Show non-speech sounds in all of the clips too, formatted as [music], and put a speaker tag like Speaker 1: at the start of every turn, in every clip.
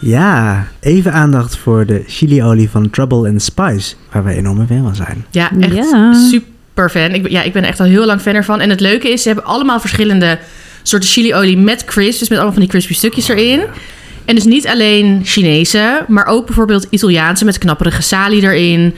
Speaker 1: Ja, even aandacht voor de chiliolie van Trouble and Spice, waar wij enorme fan van zijn.
Speaker 2: Ja, echt
Speaker 3: Ja.
Speaker 2: super fan. Ik, ben- ja, ik ben echt al heel lang fan ervan. En het leuke is, ze hebben allemaal verschillende soorten chiliolie met crisp. Dus met allemaal van die crispy stukjes erin. En dus niet alleen Chinese, maar ook bijvoorbeeld Italiaanse met knapperige salie erin.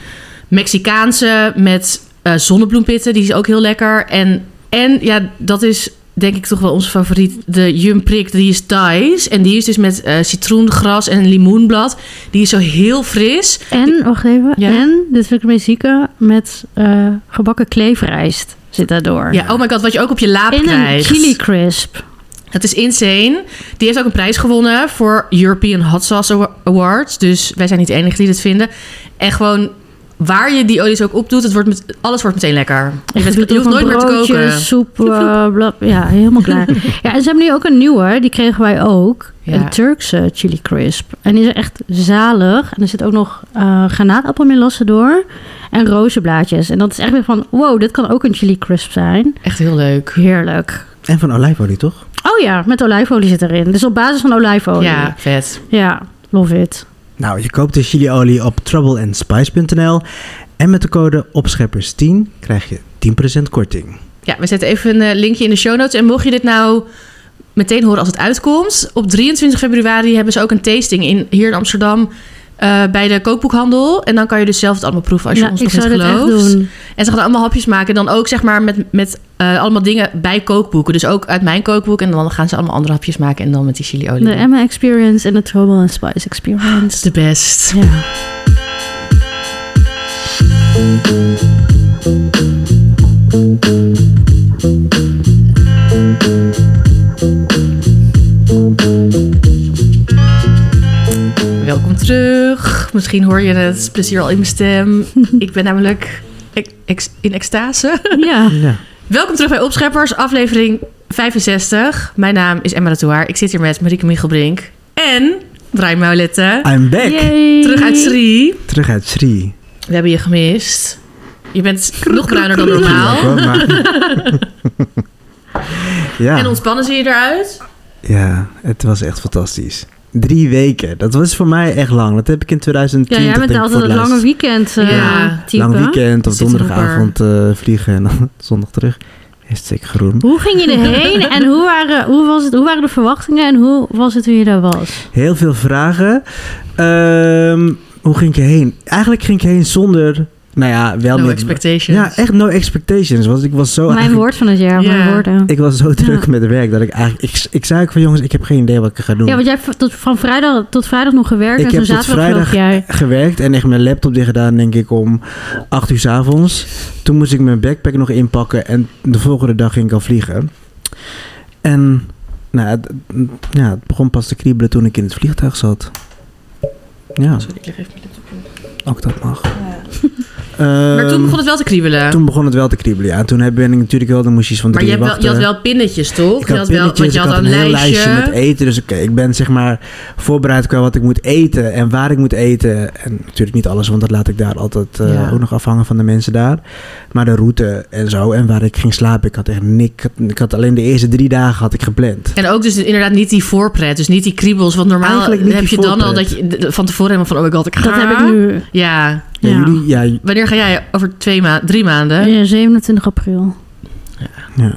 Speaker 2: Mexicaanse met eh, zonnebloempitten, die is ook heel lekker. En, en ja, dat is denk ik toch wel onze favoriet. De Jumprik, die is Thais. En die is dus met eh, citroengras en limoenblad. Die is zo heel fris.
Speaker 3: En, wacht even,
Speaker 2: Ja.
Speaker 3: en, dit vind ik het meest zieke, met eh, gebakken kleefrijst zit daardoor.
Speaker 2: Ja, oh my god, wat je ook op je laap
Speaker 3: In een
Speaker 2: krijgt.
Speaker 3: chili crisp.
Speaker 2: Het is insane. Die heeft ook een prijs gewonnen voor European Hot Sauce Awa- Awards. Dus wij zijn niet de enigen die dit vinden. En gewoon waar je die olies ook op doet, het wordt met, alles wordt meteen lekker. Je, bent, je hoeft nooit meer te koken.
Speaker 3: soep, eh, blab, ja, helemaal
Speaker 2: [laughs]
Speaker 3: klaar. ja, en ze hebben nu ook een nieuwe, die kregen wij ook.
Speaker 2: Ja.
Speaker 3: Een Turkse chili crisp. En die is echt zalig. En er zit ook nog eh granaatappelmelassen door. En rozenblaadjes. En dat is echt weer van, wow, dit kan ook een chili crisp zijn.
Speaker 2: Echt heel leuk.
Speaker 3: Heerlijk.
Speaker 1: En van olijfolie, toch?
Speaker 3: Oh ja, met olijfolie zit erin. Dus op basis van olijfolie.
Speaker 2: Ja, vet.
Speaker 3: ja love it.
Speaker 1: Nou, je koopt de chiliolie op troubleandspice.nl en met de code OPSCHEPPERS10 krijg je 10% korting.
Speaker 2: Ja, we zetten even een eh, linkje in de show notes. En mocht je dit nou meteen horen als het uitkomt. Op 23 februari hebben ze ook een tasting in, hier in Amsterdam. eh, bij de kookboekhandel. En dan kan je dus zelf het allemaal proeven als je
Speaker 3: Ja,
Speaker 2: ons
Speaker 3: Nou, ik
Speaker 2: nog niet
Speaker 3: zou dit echt
Speaker 2: gelooft.
Speaker 3: doen.
Speaker 2: En ze gaan allemaal hapjes maken. Dan ook zeg maar met, met eh, allemaal dingen bij kookboeken. Dus ook uit mijn kookboek. En dan gaan ze allemaal andere hapjes maken. En dan met die chiliolie.
Speaker 3: De Emma Experience en de Trouble and Spice
Speaker 2: [laughs] Dat is
Speaker 3: Experience.
Speaker 2: de best.
Speaker 3: Ja.
Speaker 2: Welkom terug. Misschien hoor je het plezier al in mijn stem. ik ben namelijk ec- ex- in extase.
Speaker 3: ja.
Speaker 1: Ja.
Speaker 2: Welkom terug bij Opscheppers, aflevering 65. Mijn naam is Emma Ratouar. Ik zit hier met Marieke Michelbrink en Brian Maulette.
Speaker 1: I'm back!
Speaker 3: Yay.
Speaker 2: Terug uit Sri.
Speaker 1: Terug uit Sri.
Speaker 2: We hebben je gemist. Je bent nog
Speaker 1: [laughs]
Speaker 2: bruiner dan
Speaker 3: Nou.
Speaker 2: normaal.
Speaker 1: Ja, maar...
Speaker 3: [laughs]
Speaker 1: ja.
Speaker 2: En ontspannen zie je eruit.
Speaker 1: ja, het was echt fantastisch. Drie weken, dat was voor mij echt lang. Dat heb ik in
Speaker 3: Ja,
Speaker 1: 2020
Speaker 3: jij bent
Speaker 1: denk ik
Speaker 3: altijd
Speaker 1: voor
Speaker 3: het
Speaker 1: het
Speaker 3: lange
Speaker 1: laatst-
Speaker 3: weekend eh
Speaker 2: Ja,
Speaker 3: type.
Speaker 1: Lang weekend of
Speaker 2: Zit erop,
Speaker 1: donderdagavond eh, vliegen en dan [laughs] zondag terug. Hartstikke groen.
Speaker 3: Hoe ging je erheen en hoe waren, hoe, was het, hoe waren de verwachtingen en hoe was het hoe je daar
Speaker 1: Oh,
Speaker 3: was?
Speaker 1: Heel veel vragen. Ehm, hoe ging je heen? Eigenlijk ging ik heen zonder, nou ja, wel
Speaker 2: No
Speaker 1: met...
Speaker 2: expectations.
Speaker 1: Ja, echt no expectations. Want ik was zo...
Speaker 3: Mijn
Speaker 1: eigenlijk-
Speaker 3: woord van het jaar,
Speaker 2: Ja.
Speaker 3: mijn woorden.
Speaker 1: [laughs] Ik was zo druk
Speaker 3: Ja.
Speaker 1: met werk dat ik eigenlijk... Ik, ik zei ook van jongens, ik heb geen idee wat ik ga doen.
Speaker 3: Ja, want jij hebt v- tot, van vrijdag tot vrijdag nog gewerkt
Speaker 1: Ik
Speaker 3: en toen
Speaker 1: heb tot
Speaker 3: zaterdag vloog
Speaker 1: vrijdag-
Speaker 3: jij.
Speaker 1: gewerkt en echt mijn laptop dicht gedaan, denk ik, om 8 uur s avonds. Toen moest ik mijn backpack nog inpakken en de volgende dag ging ik al vliegen. En nou, het, ja, het begon pas te kriebelen toen ik in het vliegtuig zat. Ja,
Speaker 2: Sorry, ik leg even mijn laptop op.
Speaker 1: ook dat mag.
Speaker 2: Maar toen
Speaker 1: Ehm,
Speaker 2: begon het wel te kriebelen.
Speaker 1: toen begon het wel te kriebelen, ja. En toen ben ik natuurlijk wel de moesjes van
Speaker 2: maar
Speaker 1: drie
Speaker 2: je, hebt wel, je
Speaker 1: wachten.
Speaker 2: had wel pinnetjes, toch?
Speaker 1: Ik
Speaker 2: je
Speaker 1: had
Speaker 2: had wel, want
Speaker 1: pinnetjes,
Speaker 2: je
Speaker 1: ik
Speaker 2: had
Speaker 1: had
Speaker 2: al
Speaker 1: een
Speaker 2: een
Speaker 1: heel
Speaker 2: lijstje.
Speaker 1: lijstje met eten. Dus oké, ik ben zeg maar voorbereid qua wat ik moet eten en waar ik moet eten. En natuurlijk niet alles, want dat laat ik daar altijd eh,
Speaker 2: Ja.
Speaker 1: ook nog afhangen van de mensen daar. Maar de route en zo en waar ik ging slapen. Ik had echt niks. Ik had alleen de eerste drie dagen had ik gepland.
Speaker 2: En ook dus inderdaad niet die voorpret. Dus niet die kriebels. Want normaal
Speaker 1: Eigenlijk niet
Speaker 2: heb
Speaker 1: die
Speaker 2: je dan al dat
Speaker 1: voorpret.
Speaker 2: je d- d- van tevoren helemaal van... Oh my god, ik ga.
Speaker 3: Dat heb ik nu.
Speaker 2: Ja.
Speaker 1: Ja,
Speaker 3: Ja.
Speaker 1: jullie, ja, j-
Speaker 2: Wanneer ga jij? Over twee maanden, drie maanden?
Speaker 3: Ja, 27 april.
Speaker 1: ja.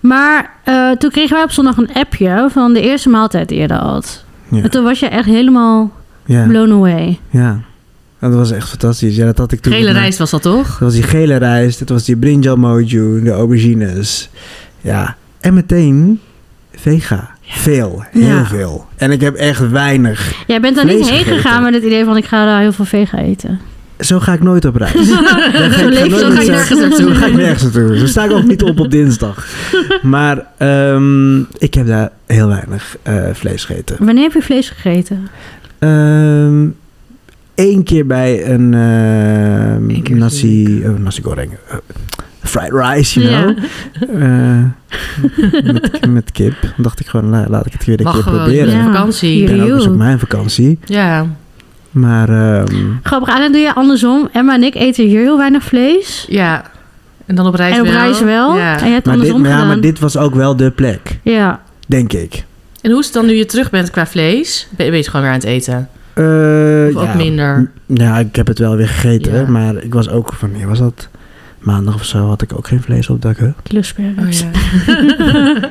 Speaker 3: Maar eh, toen kregen wij op zondag een appje van de eerste maaltijd die je daar had.
Speaker 1: Ja.
Speaker 3: En toen was je echt helemaal
Speaker 1: ja,
Speaker 3: blown away.
Speaker 1: ja. Dat was echt fantastisch. Ja, dat had ik toen.
Speaker 2: Gele
Speaker 1: met-
Speaker 2: rijst was dat toch?
Speaker 1: Dat was die gele rijst, dat was die brinjal mojo, de aubergines. Ja, en meteen vega. Veel, heel
Speaker 3: Ja.
Speaker 1: veel. En ik heb echt weinig.
Speaker 3: Jij bent daar niet
Speaker 1: Vlees
Speaker 3: heen
Speaker 1: gegeten.
Speaker 3: gegaan met het idee van ik ga daar heel veel vega
Speaker 1: [laughs]
Speaker 3: eten.
Speaker 1: Zo ga ik nooit
Speaker 3: [laughs]
Speaker 1: op reis. Dan ga ik-
Speaker 3: Zo
Speaker 1: ga
Speaker 3: leef je,
Speaker 1: nooit
Speaker 3: zo ga je
Speaker 1: met-
Speaker 2: nergens naartoe.
Speaker 1: Zo ga ik nergens naartoe. Zo sta ik ook niet op op
Speaker 3: [laughs]
Speaker 1: dinsdag. Maar ehm, ik heb daar heel weinig eh, vlees gegeten.
Speaker 3: Wanneer heb je vlees gegeten?
Speaker 1: Ehm Eén keer bij een
Speaker 2: Eén
Speaker 1: ehm
Speaker 2: keer
Speaker 1: nasi, eh, nasi goreng, eh, fried rice, you
Speaker 3: Ja.
Speaker 1: know. Eh, met, met kip. dacht ik gewoon, la- laat ik het weer een
Speaker 2: Mag
Speaker 1: keer
Speaker 2: gewoon.
Speaker 1: proberen.
Speaker 2: Ja.
Speaker 1: Ja.
Speaker 2: Vakantie.
Speaker 3: Ja.
Speaker 1: dat was ook dus mijn vakantie.
Speaker 2: Ja.
Speaker 1: Maar ehm,
Speaker 3: Grappig, en dan doe je andersom. Emma en ik eten hier heel weinig vlees.
Speaker 2: Ja. En dan op reis
Speaker 3: en op
Speaker 2: wel.
Speaker 3: reis wel.
Speaker 2: Ja.
Speaker 3: En je hebt
Speaker 1: maar, dit,
Speaker 3: andersom
Speaker 1: maar ja,
Speaker 3: gedaan.
Speaker 1: maar dit was ook wel de plek,
Speaker 3: Ja,
Speaker 1: denk ik.
Speaker 2: En hoe is het dan nu je terug bent qua vlees? Ben ben je het gewoon weer aan het eten?
Speaker 1: Eh,
Speaker 2: Of ook
Speaker 1: ja,
Speaker 2: minder?
Speaker 1: Ja, ik heb het wel weer gegeten,
Speaker 2: Ja.
Speaker 1: maar ik was ook van, nee, was dat maandag of zo, had ik ook geen vlees op dat hè?
Speaker 3: Kilo sperrips.
Speaker 2: Oh, [laughs] ja.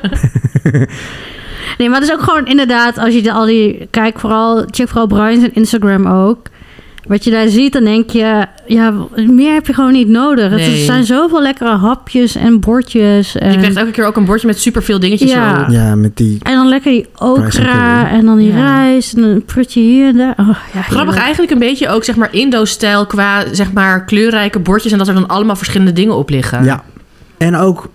Speaker 3: Nee, maar het is ook gewoon inderdaad, als je de, al die... Kijk vooral, check vooral Brian zijn Instagram ook. Wat je daar ziet, dan denk je... Ja, meer heb je gewoon niet nodig. Het
Speaker 2: Nee.
Speaker 3: is- zijn zoveel lekkere hapjes en bordjes. En,
Speaker 2: Je krijgt elke keer ook een bordje met superveel dingetjes
Speaker 3: Ehm, Ja.
Speaker 2: erop.
Speaker 1: Ja, met die...
Speaker 3: en dan lekker die okra
Speaker 1: curry.
Speaker 3: en dan die
Speaker 2: Ja.
Speaker 3: rijst en een prutje hier en daar. Oh, ja,
Speaker 2: Grappig
Speaker 3: heerlijk.
Speaker 2: eigenlijk een beetje ook zeg maar Indo-stijl qua zeg maar kleurrijke bordjes en dat er dan allemaal verschillende dingen op liggen.
Speaker 1: Ja. En ook,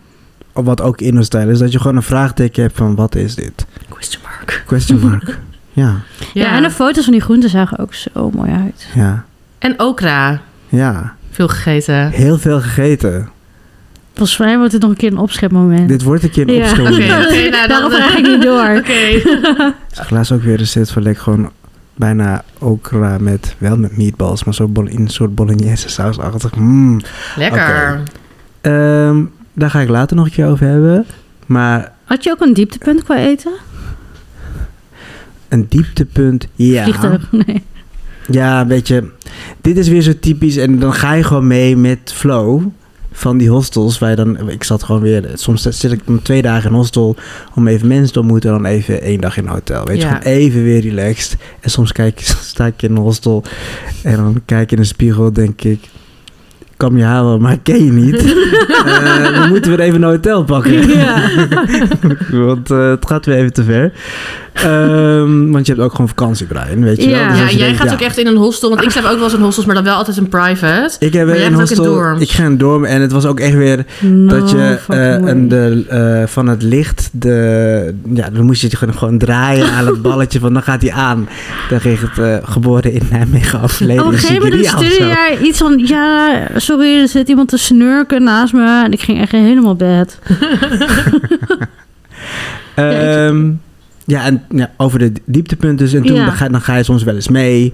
Speaker 1: wat ook in ons stijl is, dat je gewoon een vraagteken hebt van, wat is dit?
Speaker 2: Question mark.
Speaker 1: Question mark. ja,
Speaker 3: Ja. en de foto's van die groenten zagen ook zo mooi uit.
Speaker 1: ja,
Speaker 2: en okra.
Speaker 1: ja.
Speaker 2: Veel gegeten.
Speaker 1: Heel veel gegeten.
Speaker 3: Volgens mij wordt het nog een keer een opschepmoment.
Speaker 1: Dit wordt een keer een
Speaker 3: Ja.
Speaker 1: opschoning.
Speaker 2: Oké,
Speaker 3: [laughs]
Speaker 2: oké, nou,
Speaker 3: Daarom
Speaker 2: dan-
Speaker 3: ga ik niet door.
Speaker 2: [laughs] Oké.
Speaker 1: Ik zag laatst ook weer een set van lekker gewoon bijna okra met, wel met meatballs, maar zo bol- in een soort bolognese sausachtig. Mm.
Speaker 2: Lekker.
Speaker 1: Ehm, daar ga ik later nog een keer over hebben. Maar
Speaker 3: Had je ook een dieptepunt qua eten?
Speaker 1: een dieptepunt, ja.
Speaker 3: Vliegtuig? Nee.
Speaker 1: Ja, weet je, dit is weer zo typisch. En dan ga je gewoon mee met flow van die hostels. Waar je dan, ik zat gewoon weer, soms zit ik om twee dagen in hostel om even mensen te ontmoeten. En dan even één dag in een hotel. Weet je,
Speaker 2: Ja.
Speaker 1: gewoon even weer relaxed. En soms kijk, [laughs] sta ik in een hostel en dan kijk ik in de spiegel, denk ik. Ik kan je halen, maar ik ken je niet.
Speaker 2: [laughs]
Speaker 1: Eh, we moeten weer even een hotel pakken. [laughs] want eh, het gaat weer even te ver. Ehm, want je hebt ook gewoon vakantie, Brian, weet je wel.
Speaker 3: Ja.
Speaker 1: Dus
Speaker 2: Ja,
Speaker 1: als je
Speaker 2: jij
Speaker 1: denkt,
Speaker 2: gaat
Speaker 1: ja.
Speaker 2: ook echt in een hostel. Want ik slaap ook wel eens in hostels, maar dan wel altijd een private.
Speaker 1: Ik heb
Speaker 2: Maar jij
Speaker 1: een
Speaker 2: gaat ook Oh, in
Speaker 1: hostel.
Speaker 2: dorms.
Speaker 1: ik ga in een dorm en het was ook echt weer dat je eh, een, de, eh, van het licht de, ja, dan moest je het gewoon, gewoon draaien aan het balletje van dan gaat hij aan. Dan ging het eh, geboren in Nijmegen
Speaker 2: Oh,
Speaker 1: afleden.
Speaker 3: Op een
Speaker 1: in
Speaker 3: gegeven moment
Speaker 1: Sigiriya of
Speaker 3: stuurde
Speaker 1: zo.
Speaker 3: jij iets van... Ja, sorry, er zit iemand te snurken naast me. En ik ging echt helemaal bed.
Speaker 1: Ehm, ja, en ja, over de dieptepunt dus. En toen
Speaker 3: Ja.
Speaker 1: dan, ga, dan ga je soms wel eens mee.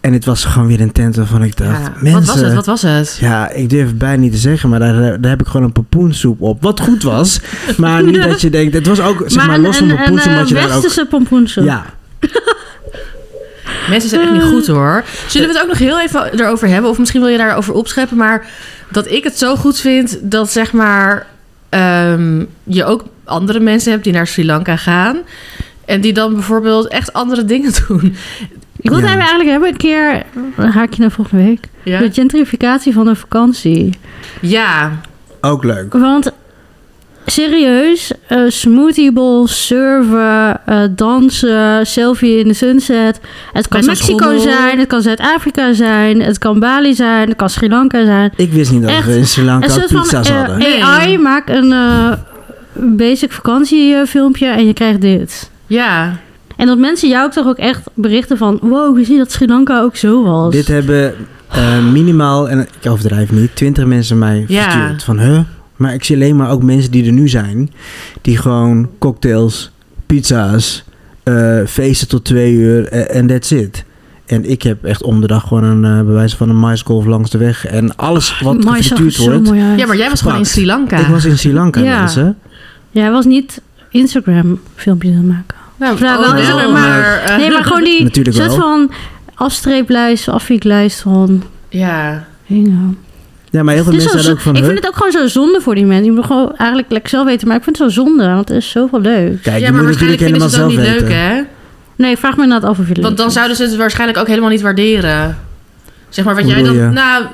Speaker 1: En het was gewoon weer een tent waarvan ik dacht,
Speaker 2: Ja.
Speaker 1: mensen...
Speaker 2: Wat was het? Wat was het?
Speaker 1: Ja, ik durf het bijna niet te zeggen, maar daar, daar heb ik gewoon een pompoensoep op. Wat goed was, maar niet dat je denkt... Het was ook, zeg maar,
Speaker 3: een-
Speaker 1: los van
Speaker 3: een-
Speaker 1: pompoensoep
Speaker 3: een
Speaker 1: had je
Speaker 3: eh,
Speaker 1: daar ook...
Speaker 3: westerse pompoensoep.
Speaker 1: Ja,
Speaker 2: Mensen zijn echt niet goed
Speaker 3: Eh.
Speaker 2: hoor. Zullen we het ook nog heel even erover hebben? Of misschien wil je daarover opscheppen. Maar dat ik het zo goed vind dat zeg maar ehm, je ook andere mensen hebt die naar Sri Lanka gaan. En die dan bijvoorbeeld echt andere dingen [laughs] doen.
Speaker 3: Ik wilde
Speaker 1: Ja.
Speaker 3: eigenlijk hebben een keer... Een haakje naar volgende week.
Speaker 2: Ja,
Speaker 3: De gentrificatie van een vakantie.
Speaker 2: ja.
Speaker 1: ook leuk.
Speaker 3: Want serieus, eh smoothie bowl, surfen, eh, dansen, selfie in de sunset. Het kan
Speaker 2: Best wel
Speaker 3: Mexico
Speaker 2: schommel.
Speaker 3: zijn, het kan Zuid-Afrika zijn, het kan Bali zijn, het kan Sri Lanka zijn.
Speaker 1: Ik wist niet dat
Speaker 3: Echt,
Speaker 1: we in Sri
Speaker 3: Een
Speaker 1: Lanka
Speaker 3: soort van
Speaker 1: pizza's
Speaker 3: eh,
Speaker 1: hadden.
Speaker 2: Nee.
Speaker 3: AI maakt een eh, basic vakantiefilmpje en je krijgt dit.
Speaker 2: ja.
Speaker 3: En dat mensen jou ook toch ook echt berichten van... wow, we zien dat Sri Lanka ook zo was.
Speaker 1: Dit hebben eh, minimaal, en ik overdrijf niet, twintig mensen mij
Speaker 2: Ja.
Speaker 1: verstuurd. Van, huh? Maar ik zie alleen maar ook mensen die er nu zijn. Die gewoon cocktails, pizza's, eh, feesten tot twee uur eh, en that's it. En ik heb echt om de dag gewoon een eh, bewijs van een maisgolf langs de weg. En
Speaker 2: Oh,
Speaker 1: alles wat
Speaker 3: Mooi, zag er
Speaker 1: verstuurd
Speaker 3: zo
Speaker 1: wordt.
Speaker 3: mooi uit.
Speaker 2: ja, maar jij was gewoon in
Speaker 1: Gepakt.
Speaker 2: Sri Lanka.
Speaker 1: Ik was in Sri Lanka,
Speaker 3: Ja.
Speaker 1: mensen.
Speaker 3: Ja, hij was niet Instagram filmpjes aan het maken.
Speaker 2: Nou,
Speaker 3: Ja,
Speaker 2: oh,
Speaker 3: wel,
Speaker 2: wel,
Speaker 1: maar-
Speaker 2: eh,
Speaker 3: Nee, maar gewoon
Speaker 1: [laughs]
Speaker 3: die
Speaker 1: Natuurlijk
Speaker 3: soort
Speaker 1: wel.
Speaker 3: van afstreeplijst, afvieklijst van...
Speaker 2: Ja.
Speaker 3: Ja.
Speaker 1: Ja, maar heel veel
Speaker 3: Het is
Speaker 1: mensen
Speaker 3: zo
Speaker 1: zijn
Speaker 3: zo-
Speaker 1: ook van...
Speaker 3: ik
Speaker 1: huh?
Speaker 3: vind het ook gewoon zo zonde voor die mensen. Ik moet gewoon eigenlijk lekker zelf weten, maar ik vind het zo zonde, want er is zoveel leuk.
Speaker 1: Kijk,
Speaker 2: ja,
Speaker 1: je
Speaker 2: maar
Speaker 1: moet natuurlijk
Speaker 2: waarschijnlijk vinden ze
Speaker 1: helemaal
Speaker 2: het
Speaker 1: zelf
Speaker 2: ook niet
Speaker 1: weten.
Speaker 2: leuk, hè?
Speaker 3: Nee, ik vraag me inderdaad af of je
Speaker 1: Dus
Speaker 3: het leuk
Speaker 2: Want dan
Speaker 3: vindt.
Speaker 2: zouden ze het waarschijnlijk ook helemaal niet waarderen. Zeg maar wat
Speaker 1: Hoe
Speaker 2: jij dan.
Speaker 1: bedoel je?
Speaker 2: Nou,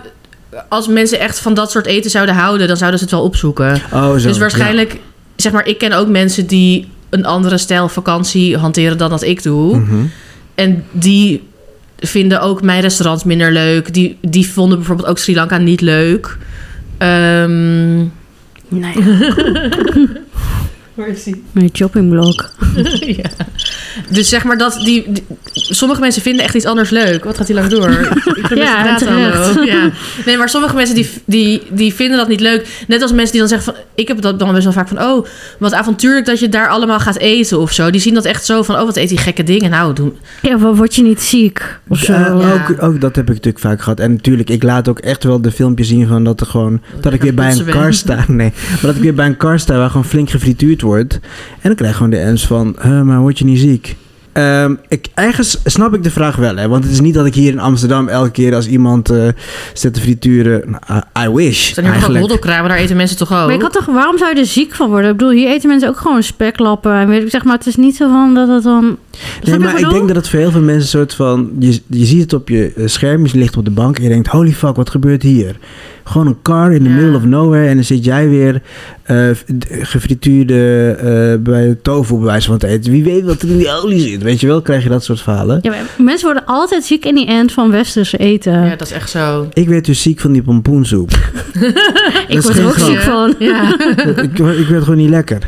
Speaker 2: als mensen echt van dat soort eten zouden houden, dan zouden ze het wel opzoeken.
Speaker 1: Oh, zo.
Speaker 2: dus waarschijnlijk, zeg maar, ik ken ook mensen die een andere stijl vakantie hanteren dan dat ik doe.
Speaker 1: Ja. Mhm.
Speaker 2: En die vinden ook mijn restaurants minder leuk. Die, die vonden bijvoorbeeld ook Sri Lanka niet leuk. Ehm
Speaker 3: Nee, [laughs]
Speaker 2: Waar is die?
Speaker 3: mijn shoppingblog.
Speaker 2: [laughs] ja. Dus zeg maar dat die, die- sommige mensen vinden echt iets anders leuk. Wat gaat die lang
Speaker 3: [laughs]
Speaker 2: door? Ik vermis
Speaker 3: Ja,
Speaker 2: de draad
Speaker 3: terecht.
Speaker 2: al ook.
Speaker 3: [laughs]
Speaker 2: ja. Nee, maar sommige mensen die, die, die vinden dat niet leuk. Net als mensen die dan zeggen van, ik heb dat dan best wel vaak van, oh, wat avontuurlijk dat je daar allemaal gaat eten of zo. Die zien dat echt zo van, oh, wat eet die gekke dingen nou doen.
Speaker 3: Ja, wa- word je niet ziek of zo?
Speaker 1: Ja,
Speaker 2: eh, Ja.
Speaker 1: ook, ook dat heb ik natuurlijk vaak gehad. En natuurlijk, ik laat ook echt wel de
Speaker 2: Oh,
Speaker 1: filmpjes zien van dat er gewoon. Dat ik weer bij een
Speaker 2: Lekker
Speaker 1: kar
Speaker 2: kotsen
Speaker 1: sta.
Speaker 2: [laughs]
Speaker 1: Nee, maar dat ik weer bij een kar sta waar gewoon flink gefrituurd wordt. En dan krijg je gewoon de ens van, "Huh, maar word je niet ziek? Ehm, ik, ergens snap ik de vraag wel, hè. Want het is niet dat ik hier in Amsterdam elke keer als iemand eh zit te frituren... nou, I, I wish,
Speaker 2: Zijn er nog ook
Speaker 1: eigenlijk.
Speaker 2: roddelkramen, daar eten mensen toch ook?
Speaker 3: Maar ik had toch, waarom zou je er ziek van worden? Ik bedoel, hier eten mensen ook gewoon speklappen. En weet ik zeg maar, het is niet zo van dat het dan.
Speaker 1: Nee, maar ik denk dat het voor heel veel mensen een soort van... Je, je ziet het op je eh, scherm, je ligt op de bank en je denkt... Holy fuck, wat gebeurt hier? Gewoon een car in the
Speaker 2: Ja.
Speaker 1: middle of nowhere... en dan zit jij weer eh, f- d- gefrituurde eh, bij tofu bij wijze van het eten. Wie weet wat er in die olie zit, weet je wel? Krijg je dat soort verhalen.
Speaker 3: Ja, maar mensen worden altijd ziek in die end van westerse eten. [laughs]
Speaker 2: Ja, dat is echt zo.
Speaker 1: Ik werd dus ziek van die pompoensoep.
Speaker 3: ik
Speaker 1: is
Speaker 3: word er
Speaker 1: geen
Speaker 3: ook
Speaker 1: grap.
Speaker 3: ziek [laughs] van.
Speaker 2: Ja.
Speaker 1: ik, ik werd gewoon niet lekker.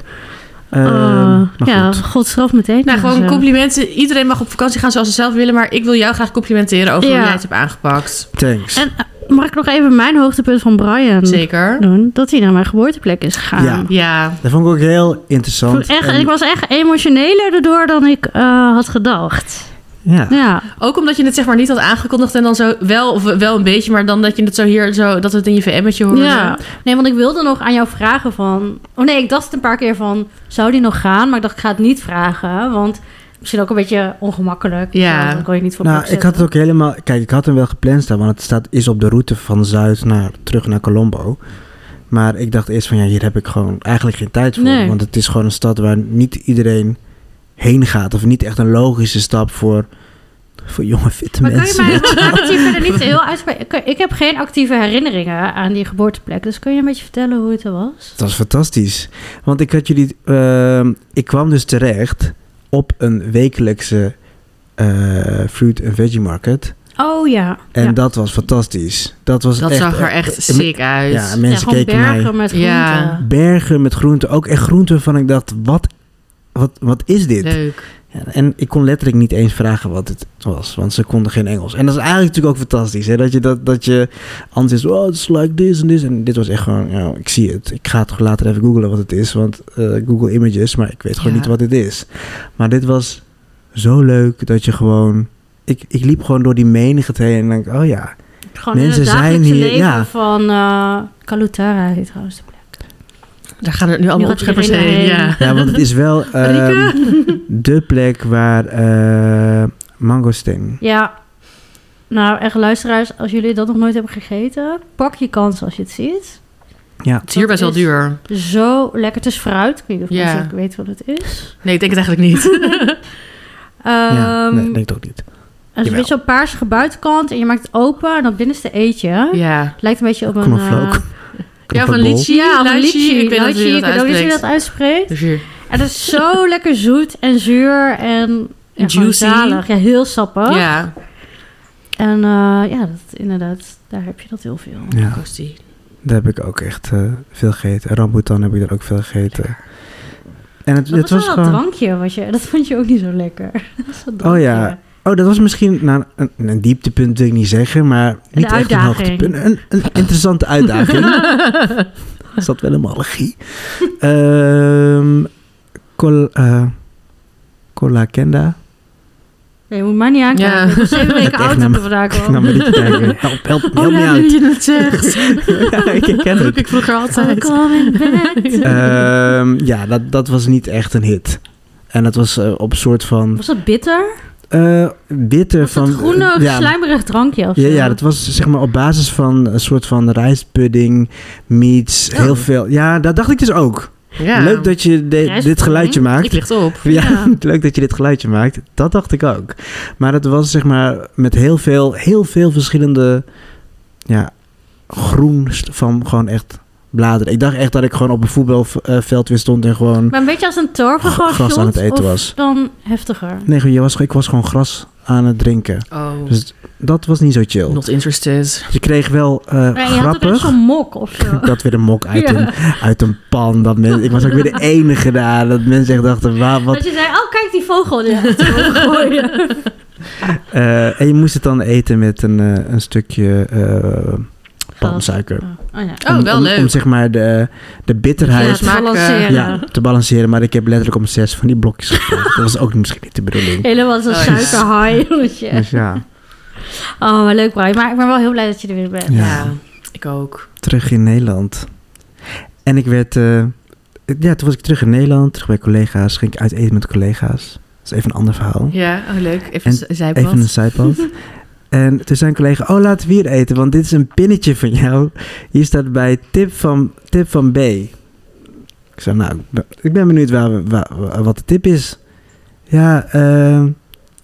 Speaker 1: Ehm,
Speaker 3: Oh,
Speaker 1: maar
Speaker 3: ja,
Speaker 1: goed.
Speaker 3: god straf meteen.
Speaker 2: Nou, gewoon complimenten. Iedereen mag op vakantie gaan zoals ze zelf willen. Maar ik wil jou graag complimenteren over hoe
Speaker 3: Ja.
Speaker 2: jij het hebt aangepakt.
Speaker 1: Thanks.
Speaker 3: En eh, mag ik nog even mijn hoogtepunt van Brian
Speaker 2: Zeker.
Speaker 3: doen? Dat hij naar mijn geboorteplek is gegaan.
Speaker 1: Ja. ehm,
Speaker 2: Ja.
Speaker 1: Dat vond ik ook heel
Speaker 3: Ik,
Speaker 1: interessant.
Speaker 3: vond echt,
Speaker 1: en-
Speaker 3: ik was echt emotioneler daardoor dan ik eh, had gedacht.
Speaker 1: ja.
Speaker 3: Ja.
Speaker 2: Ook omdat je het zeg maar niet had aangekondigd en dan zo wel, of wel een beetje, maar dan dat je het zo hier zo, dat het in je VM'tje hoorde.
Speaker 3: Ja, nee, want ik wilde nog aan jou vragen van... Oh nee, ik dacht het een paar keer van, zou die nog gaan? Maar ik dacht, ik ga het niet vragen, want misschien ook een beetje ongemakkelijk.
Speaker 2: Ja.
Speaker 3: Dan kon je niet voor
Speaker 1: Nou,
Speaker 3: opzetten.
Speaker 1: ik had het ook helemaal... Kijk, ik had hem wel gepland staan, want het staat, is op de route van Zuid naar, terug naar Colombo. Maar ik dacht eerst van, ja, hier heb ik gewoon eigenlijk geen tijd voor.
Speaker 3: Nee.
Speaker 1: Want het is gewoon een stad waar niet iedereen heen gaat. Of niet echt een logische stap voor, voor jonge, fitte
Speaker 3: Maar kan je
Speaker 1: mensen. [laughs]
Speaker 3: mij want ik had hier verder niet heel uitspreken? Ik- Ik heb geen actieve herinneringen aan die geboorteplek. Dus kun je een beetje vertellen hoe het er was?
Speaker 1: Het was fantastisch. Want ik had jullie... ehm, ik kwam dus terecht op een wekelijkse eh, fruit en veggie market.
Speaker 3: Oh ja.
Speaker 1: En
Speaker 3: ja.
Speaker 1: dat was fantastisch. Dat, was
Speaker 2: Dat
Speaker 1: echt,
Speaker 2: zag er echt
Speaker 1: eh,
Speaker 2: sick uit.
Speaker 1: Ja,
Speaker 3: Ja,
Speaker 1: mensen
Speaker 3: gewoon
Speaker 1: keken
Speaker 3: bergen
Speaker 1: mij.
Speaker 3: met groenten.
Speaker 2: Ja.
Speaker 1: Bergen met groenten. Ook echt groenten waarvan ik dacht, wat, wat, wat is dit?
Speaker 2: Leuk.
Speaker 1: Ja, En ik kon letterlijk niet eens vragen wat het was, want ze konden geen Engels. En dat is eigenlijk natuurlijk ook fantastisch, hè? Dat je, dat, dat je anders is, oh, it's like this and this. En dit was echt gewoon, ja, ik zie het. Ik ga het gewoon later even googlen wat het is, want eh, Google Images, maar ik weet gewoon
Speaker 2: Ja.
Speaker 1: niet wat het is. Maar dit was zo leuk dat je gewoon... Ik, ik liep gewoon door die menigte heen en denk, oh ja,
Speaker 3: Gewoon
Speaker 1: Mensen
Speaker 3: in het
Speaker 1: zijn
Speaker 3: dagelijkse
Speaker 1: hier-
Speaker 3: leven
Speaker 1: ja.
Speaker 3: van... eh Kalutara heet trouwens de plek.
Speaker 2: Daar gaan er nu allemaal
Speaker 3: gaat
Speaker 2: opscheppers heen.
Speaker 3: iedereen
Speaker 2: Ja.
Speaker 3: heen.
Speaker 1: Ja, want het is
Speaker 3: [laughs]
Speaker 1: wel ehm, de plek waar eh mangosteen.
Speaker 3: Ja. Nou, echt luisteraars, als jullie dat nog nooit hebben gegeten, pak je kans als je het ziet.
Speaker 2: Het is hier best wel
Speaker 3: Dat is-
Speaker 2: duur.
Speaker 3: Zo lekker. Het is fruit. Ik weet niet of
Speaker 2: Ja.
Speaker 3: mensen ook weten wat het
Speaker 2: [laughs]
Speaker 3: is.
Speaker 2: Nee, ik denk het eigenlijk [laughs] niet.
Speaker 1: ja,
Speaker 3: Ehm,
Speaker 1: nee, denk ik ook niet.
Speaker 3: het is een
Speaker 1: jawel.
Speaker 3: beetje zo'n paarsige buitenkant en je maakt het open en dan binnenste eet je.
Speaker 2: ja.
Speaker 3: Het lijkt een beetje op een...
Speaker 1: Kom een vlook.
Speaker 3: eh,
Speaker 2: Ja, van
Speaker 1: Knoppenbol.
Speaker 2: lychee.
Speaker 3: ja, of een
Speaker 2: Lychee,
Speaker 3: lychee.
Speaker 2: Ik weet niet hoe
Speaker 3: Lychee,
Speaker 2: je
Speaker 3: ik
Speaker 2: dat
Speaker 3: weet ook niet hoe je
Speaker 2: uitspreekt.
Speaker 3: dat uitspreekt.
Speaker 2: Dus hier.
Speaker 3: En het is zo [laughs] lekker zoet en zuur en... Ja, gewoon
Speaker 2: Juicy.
Speaker 3: zalig. Ja, heel sappig.
Speaker 2: Ja.
Speaker 3: En eh, ja, dat, inderdaad, daar heb je dat heel veel.
Speaker 1: Ja,
Speaker 2: Kostie.
Speaker 1: daar heb ik ook echt eh, veel gegeten. Rambutan heb ik daar ook veel gegeten. En het,
Speaker 3: Dat
Speaker 1: het was
Speaker 3: was, wel dat
Speaker 1: gewoon...
Speaker 3: drankje, wat je, dat vond je ook niet zo lekker. [laughs] Dat was dat
Speaker 1: Oh ja,
Speaker 3: drankje.
Speaker 1: Oh, dat was misschien nou, een, een dieptepunt, wil ik niet zeggen, maar niet echt een
Speaker 3: uitdaging.
Speaker 1: hoogtepunt. Een, een
Speaker 3: [laughs]
Speaker 1: interessante uitdaging. Is dat wel een allergie? Ehm col, eh, Cola Kenda.
Speaker 3: Nee, je moet mij niet aankijken.
Speaker 2: Ja.
Speaker 3: Ik ben
Speaker 1: [laughs]
Speaker 3: zeven
Speaker 1: Ik
Speaker 3: weken
Speaker 1: echt
Speaker 3: oud
Speaker 1: naar
Speaker 3: toen
Speaker 1: me-
Speaker 3: [laughs] ik vandaag
Speaker 1: Ik nam
Speaker 3: kwam.
Speaker 1: maar niet kijken. [laughs] Help, help, help
Speaker 2: [laughs] Oh
Speaker 1: me
Speaker 2: ja, nu
Speaker 1: uit.
Speaker 2: je het zegt.
Speaker 1: [laughs] ja, ik ken
Speaker 2: Dat
Speaker 1: het. Oh,
Speaker 2: roep ik vroeger
Speaker 3: [laughs] I'm
Speaker 2: altijd.
Speaker 3: coming back
Speaker 1: [laughs]
Speaker 3: to-
Speaker 1: Ehm, ja, dat, dat was niet echt een hit. En dat was eh, op een soort van
Speaker 3: Was dat bitter?
Speaker 1: eh bitter
Speaker 3: Was
Speaker 1: van... eh,
Speaker 3: dat groene,
Speaker 1: ja,
Speaker 3: slijmerig drankje of zo?
Speaker 1: ja, ja, dat was zeg maar op basis van een soort van rijstpudding, meats,
Speaker 2: Oh.
Speaker 1: heel veel. Ja, dat dacht ik dus ook.
Speaker 2: Ja.
Speaker 1: Leuk dat je de-
Speaker 3: Rijstpudding.
Speaker 1: dit geluidje maakt.
Speaker 2: Ik licht op.
Speaker 1: Ja,
Speaker 3: Ja.
Speaker 1: [laughs] leuk dat je dit geluidje maakt. Dat dacht ik ook. Maar het was zeg maar met heel veel, heel veel verschillende ja, groen st- van gewoon echt bladeren. Ik dacht echt dat ik gewoon op een voetbalveld weer stond en gewoon...
Speaker 3: Maar een beetje als een torven
Speaker 1: Oh, Gras
Speaker 3: gewoon
Speaker 1: aan het
Speaker 3: shot,
Speaker 1: eten
Speaker 3: of
Speaker 1: was.
Speaker 3: dan heftiger?
Speaker 1: Nee, je was, ik was gewoon gras aan het drinken.
Speaker 2: Oh.
Speaker 1: Dus dat was niet zo chill.
Speaker 2: Not interested.
Speaker 1: Je kreeg wel eh,
Speaker 3: Nee, je had ook echt
Speaker 1: grappig...
Speaker 3: zo'n mok of
Speaker 1: [laughs]
Speaker 3: zo.
Speaker 1: Dat weer een mok uit,
Speaker 3: Ja.
Speaker 1: een, uit een pan. Dat men, ik was ook
Speaker 3: [laughs]
Speaker 1: weer de enige daar. Dat mensen echt dachten, waar, wat...
Speaker 3: Dat je zei, oh kijk die
Speaker 1: [laughs]
Speaker 3: vogel. Die heeft het overgegooid.
Speaker 1: Eh, en je moest het dan eten met een, eh, een stukje eh [laughs] palmsuiker.
Speaker 3: Oh ja.
Speaker 2: Oh, wel
Speaker 1: om,
Speaker 2: leuk.
Speaker 1: Om zeg maar de, de bitterheid
Speaker 2: Ja,
Speaker 1: ja,
Speaker 2: smaak,
Speaker 3: balanceren.
Speaker 1: te balanceren. Maar ik heb letterlijk om zes van die blokjes gekregen. Dat was ook misschien niet de
Speaker 2: [laughs]
Speaker 1: bedoeling.
Speaker 3: eh, Helemaal zo'n
Speaker 2: Oh, ja.
Speaker 3: [laughs] suikerhaai. jongetje.
Speaker 1: Dus ja,
Speaker 3: Oh, maar leuk Brian. Maar ik ben wel heel blij dat je er weer bent.
Speaker 1: Ja.
Speaker 2: Ja, ik ook.
Speaker 1: terug in Nederland. En ik werd eh, ja, toen was ik terug in Nederland, terug bij collega's, ging ik uit eten met collega's. Dat is even een ander verhaal.
Speaker 2: Ja, oh, leuk. Even
Speaker 1: En
Speaker 2: z- zijpad.
Speaker 1: Even een zijpad.
Speaker 3: [laughs]
Speaker 1: en toen zei een collega, oh laten we hier eten, want dit is een pinnetje van jou. Hier staat bij tip van, tip van B. Ik zei, nou, ik ben- ik ben benieuwd waar, we- waar- waar- wat de tip is. Ja,
Speaker 3: [laughs]
Speaker 1: eh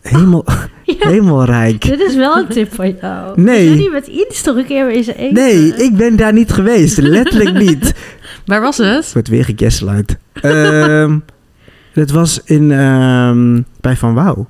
Speaker 1: hemel,
Speaker 3: Ja,
Speaker 1: hemelrijk.
Speaker 3: dit is wel een tip van
Speaker 1: [laughs]
Speaker 3: jou.
Speaker 1: Nee.
Speaker 3: Jullie met iets toch een keer weer eens eten?
Speaker 1: Nee, ik ben daar niet geweest. Letterlijk
Speaker 3: [laughs]
Speaker 1: niet.
Speaker 2: Waar was
Speaker 1: Het
Speaker 2: het?
Speaker 1: wordt weer gecanceld. Ehm dat was in, ehm, bij Van Wouw.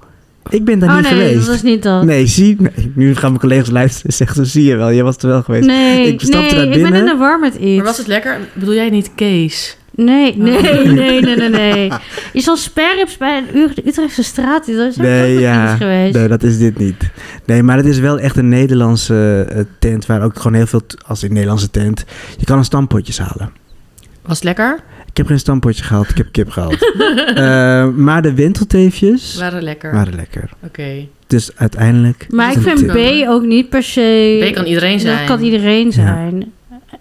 Speaker 1: Ik ben daar
Speaker 3: Oh
Speaker 1: niet
Speaker 3: nee,
Speaker 1: geweest.
Speaker 3: dat was niet dat.
Speaker 1: Nee, zie. nee, nu gaan mijn collega's luisteren en zeggen, zo zie je wel, jij was er wel geweest.
Speaker 3: Nee,
Speaker 1: Ik stapte
Speaker 3: nee,
Speaker 1: daar
Speaker 3: ik ben
Speaker 1: binnen.
Speaker 3: in de war met iets.
Speaker 2: Maar was het Oh. lekker? Bedoel jij niet Kees?
Speaker 3: Nee, nee,
Speaker 1: [laughs]
Speaker 3: nee, nee, nee, nee. Je zal sperrips bij een uur de Utrechtse straat. Dat is ook
Speaker 1: Nee,
Speaker 3: nog
Speaker 1: ja.
Speaker 3: iets geweest.
Speaker 1: Nee, dat is dit niet. Nee, maar het is wel echt een Nederlandse eh, tent waar ook gewoon heel veel, t- als in Nederlandse tent, je kan een stampotjes halen.
Speaker 2: Was het
Speaker 1: [laughs]
Speaker 2: lekker?
Speaker 1: Ik heb geen stampotje gehaald, ik heb kip
Speaker 2: [laughs]
Speaker 1: gehaald. Eh, maar de wentelteefjes
Speaker 2: Waren lekker.
Speaker 1: waren lekker.
Speaker 2: Oké.
Speaker 1: Dus uiteindelijk,
Speaker 3: Maar ik
Speaker 1: Een
Speaker 3: vind
Speaker 2: tip.
Speaker 3: B ook niet per se...
Speaker 2: B kan iedereen
Speaker 3: Dat
Speaker 2: zijn.
Speaker 3: kan iedereen zijn.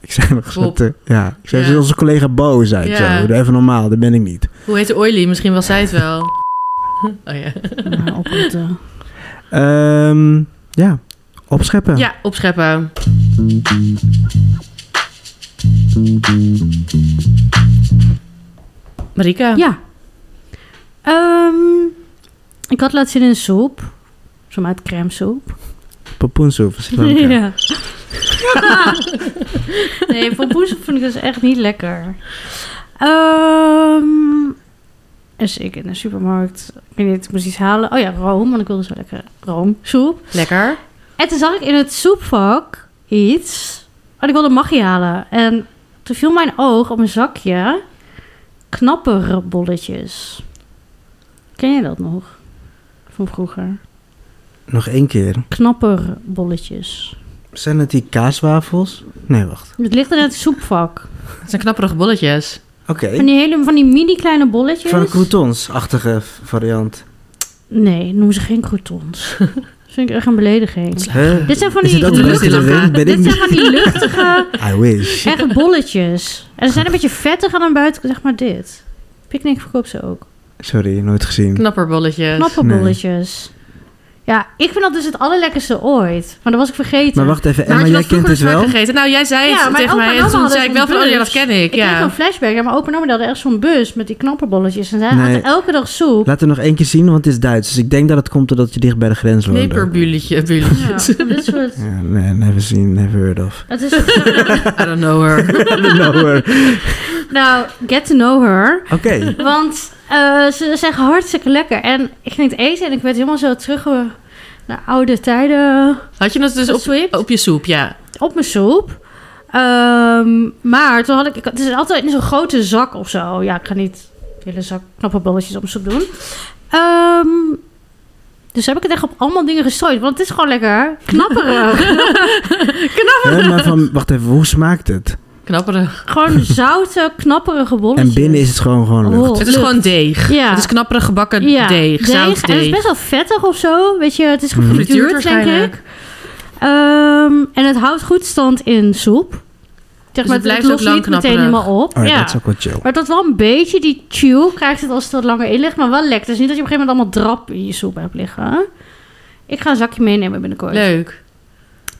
Speaker 1: ik zei nog zo,
Speaker 2: Bob.
Speaker 1: te- ja, ik zei
Speaker 2: Ja.
Speaker 1: zoals onze collega Bo, zei ik
Speaker 2: Ja.
Speaker 1: zo, doe even normaal, dat ben ik niet.
Speaker 2: Hoe heet de oily? Misschien was zij het
Speaker 1: [laughs]
Speaker 2: wel. Oh ja.
Speaker 3: Nou, opletten.
Speaker 1: Ehm, ja, opscheppen.
Speaker 2: Ja, opscheppen. Marika,
Speaker 3: Ja. Ehm, ik had laatst zin in soep. Zo'n uit crème soep.
Speaker 1: Papoensoep, is het wel lekker.
Speaker 2: [laughs]
Speaker 3: Ja. [laughs] nee, pompoensoep vond ik dus echt niet lekker. Ehm dus ik in de supermarkt. Ik weet niet, ik moest iets halen. Oh ja, room, want ik wilde zo lekker roomsoep.
Speaker 2: lekker.
Speaker 3: En toen zag ik in het soepvak iets. En ik wilde magie halen. En toen viel mijn oog op een zakje knapperbolletjes. Ken je dat nog? Van vroeger.
Speaker 1: Nog één keer.
Speaker 3: Knapperbolletjes.
Speaker 1: Zijn het die kaaswafels? Nee, wacht.
Speaker 3: Het ligt in het soepvak.
Speaker 2: Het zijn knapperige bolletjes.
Speaker 1: Oké.
Speaker 3: Van die, hele, van die mini kleine bolletjes.
Speaker 1: Van een croutons-achtige v- variant.
Speaker 3: Nee, noem ze geen
Speaker 1: [laughs]
Speaker 3: croutons. dat vind ik echt een belediging.
Speaker 1: Huh?
Speaker 3: Dit zijn van
Speaker 1: Is
Speaker 3: die,
Speaker 1: het ook
Speaker 2: die
Speaker 1: leuk
Speaker 2: luchtdillen
Speaker 1: erin?
Speaker 2: gaan.
Speaker 1: Ben ik
Speaker 3: dit zijn
Speaker 1: niet...
Speaker 3: van die luchtige...
Speaker 1: [laughs] I wish.
Speaker 3: Echt bolletjes. En ze zijn een beetje vettig aan de buitenkant. Zeg maar dit. Picnic verkoopt ze ook.
Speaker 1: Sorry, nooit gezien.
Speaker 2: Knapperbolletjes.
Speaker 3: Knappe
Speaker 1: nee.
Speaker 3: bolletjes. Ja, ik vind dat dus het allerlekkerste ooit. Maar dat was ik vergeten.
Speaker 1: Maar wacht even,
Speaker 2: Maar had
Speaker 1: Emma,
Speaker 2: je
Speaker 1: jij
Speaker 2: dat
Speaker 1: kent
Speaker 2: vroeger
Speaker 1: het
Speaker 2: vaak
Speaker 1: wel?
Speaker 2: gegeten? Nou, jij zei
Speaker 3: Ja,
Speaker 2: het
Speaker 3: maar
Speaker 2: tegen
Speaker 3: opa
Speaker 2: mij.
Speaker 3: en
Speaker 2: En
Speaker 3: oma
Speaker 2: toen
Speaker 3: hadden
Speaker 2: zei ik
Speaker 3: zo'n
Speaker 2: wel van, oh ja,
Speaker 3: bus.
Speaker 2: dat ken ik.
Speaker 3: ik kreeg
Speaker 2: ja.
Speaker 3: een flashback. Ja, maar opa en oma hadden echt zo'n bus met die knapperbolletjes. En zij
Speaker 1: Nee.
Speaker 3: hadden elke dag soep.
Speaker 1: Laat het nog één keer zien, want het is Duits. Dus ik denk dat het komt doordat je dicht bij de grens woont.
Speaker 2: Knipperbulletje, bulletje.
Speaker 3: Ja, van
Speaker 1: [laughs]
Speaker 3: dit soort...
Speaker 1: Ja, nee, never seen, never heard of. [laughs]
Speaker 3: Het is, [laughs] zo'n-
Speaker 2: I don't know
Speaker 3: [laughs]
Speaker 2: her.
Speaker 1: I don't know her.
Speaker 3: nou, get to know her.
Speaker 1: Oké.
Speaker 3: [laughs] Want eh, ze zijn hartstikke lekker. En ik ging het eten en ik werd helemaal zo terug eh, naar oude tijden
Speaker 2: Had je dat dus op,
Speaker 3: geswipt.
Speaker 2: op je soep? Oh. Ja.
Speaker 3: op mijn soep. Ehm, maar toen had ik, ik- het is altijd in zo'n grote zak of zo. Ja, ik ga niet een hele zak knappe bolletjes op mijn soep doen. Ehm, dus heb ik het echt op allemaal dingen gestrooid. Want het is gewoon lekker knapperig.
Speaker 2: [laughs]
Speaker 1: Hè, maar van, wacht even, hoe smaakt het?
Speaker 2: Knapperig.
Speaker 3: gewoon zoute, knapperige bolletjes.
Speaker 1: En binnen is het gewoon gewoon lucht.
Speaker 3: Oh.
Speaker 2: Het is gewoon deeg.
Speaker 3: Ja.
Speaker 2: Het is knapperig gebakken deeg. Zout
Speaker 3: En het is
Speaker 2: deeg. Mm.
Speaker 3: best wel vettig of zo. Weet je, het is
Speaker 1: Mhm.
Speaker 3: gefrituurd, denk ik. Ehm, en het houdt goed stand in soep. Zeg
Speaker 2: Dus het
Speaker 3: maar, het,
Speaker 2: blijft ook
Speaker 3: lost
Speaker 2: lang
Speaker 3: niet meteen
Speaker 2: knapperig.
Speaker 3: helemaal op.
Speaker 1: Oh, ja,
Speaker 3: ja.
Speaker 1: dat is ook wel chill.
Speaker 3: Maar dat wel een beetje die chew krijgt het als het wat langer in ligt, maar wel lekker. Dus niet dat je op een gegeven moment allemaal drap in je soep hebt liggen. Ik ga een zakje meenemen binnenkort.
Speaker 2: Leuk.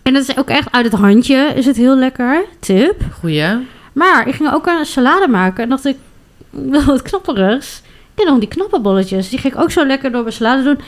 Speaker 3: En dat is ook echt uit het handje is het heel lekker. Tip.
Speaker 2: Goeie.
Speaker 3: Maar ik ging ook een salade maken en dacht ik, wel wat knapperigs. Ik ken nog die knappe bolletjes. Die ging ik ook zo lekker door mijn salade doen.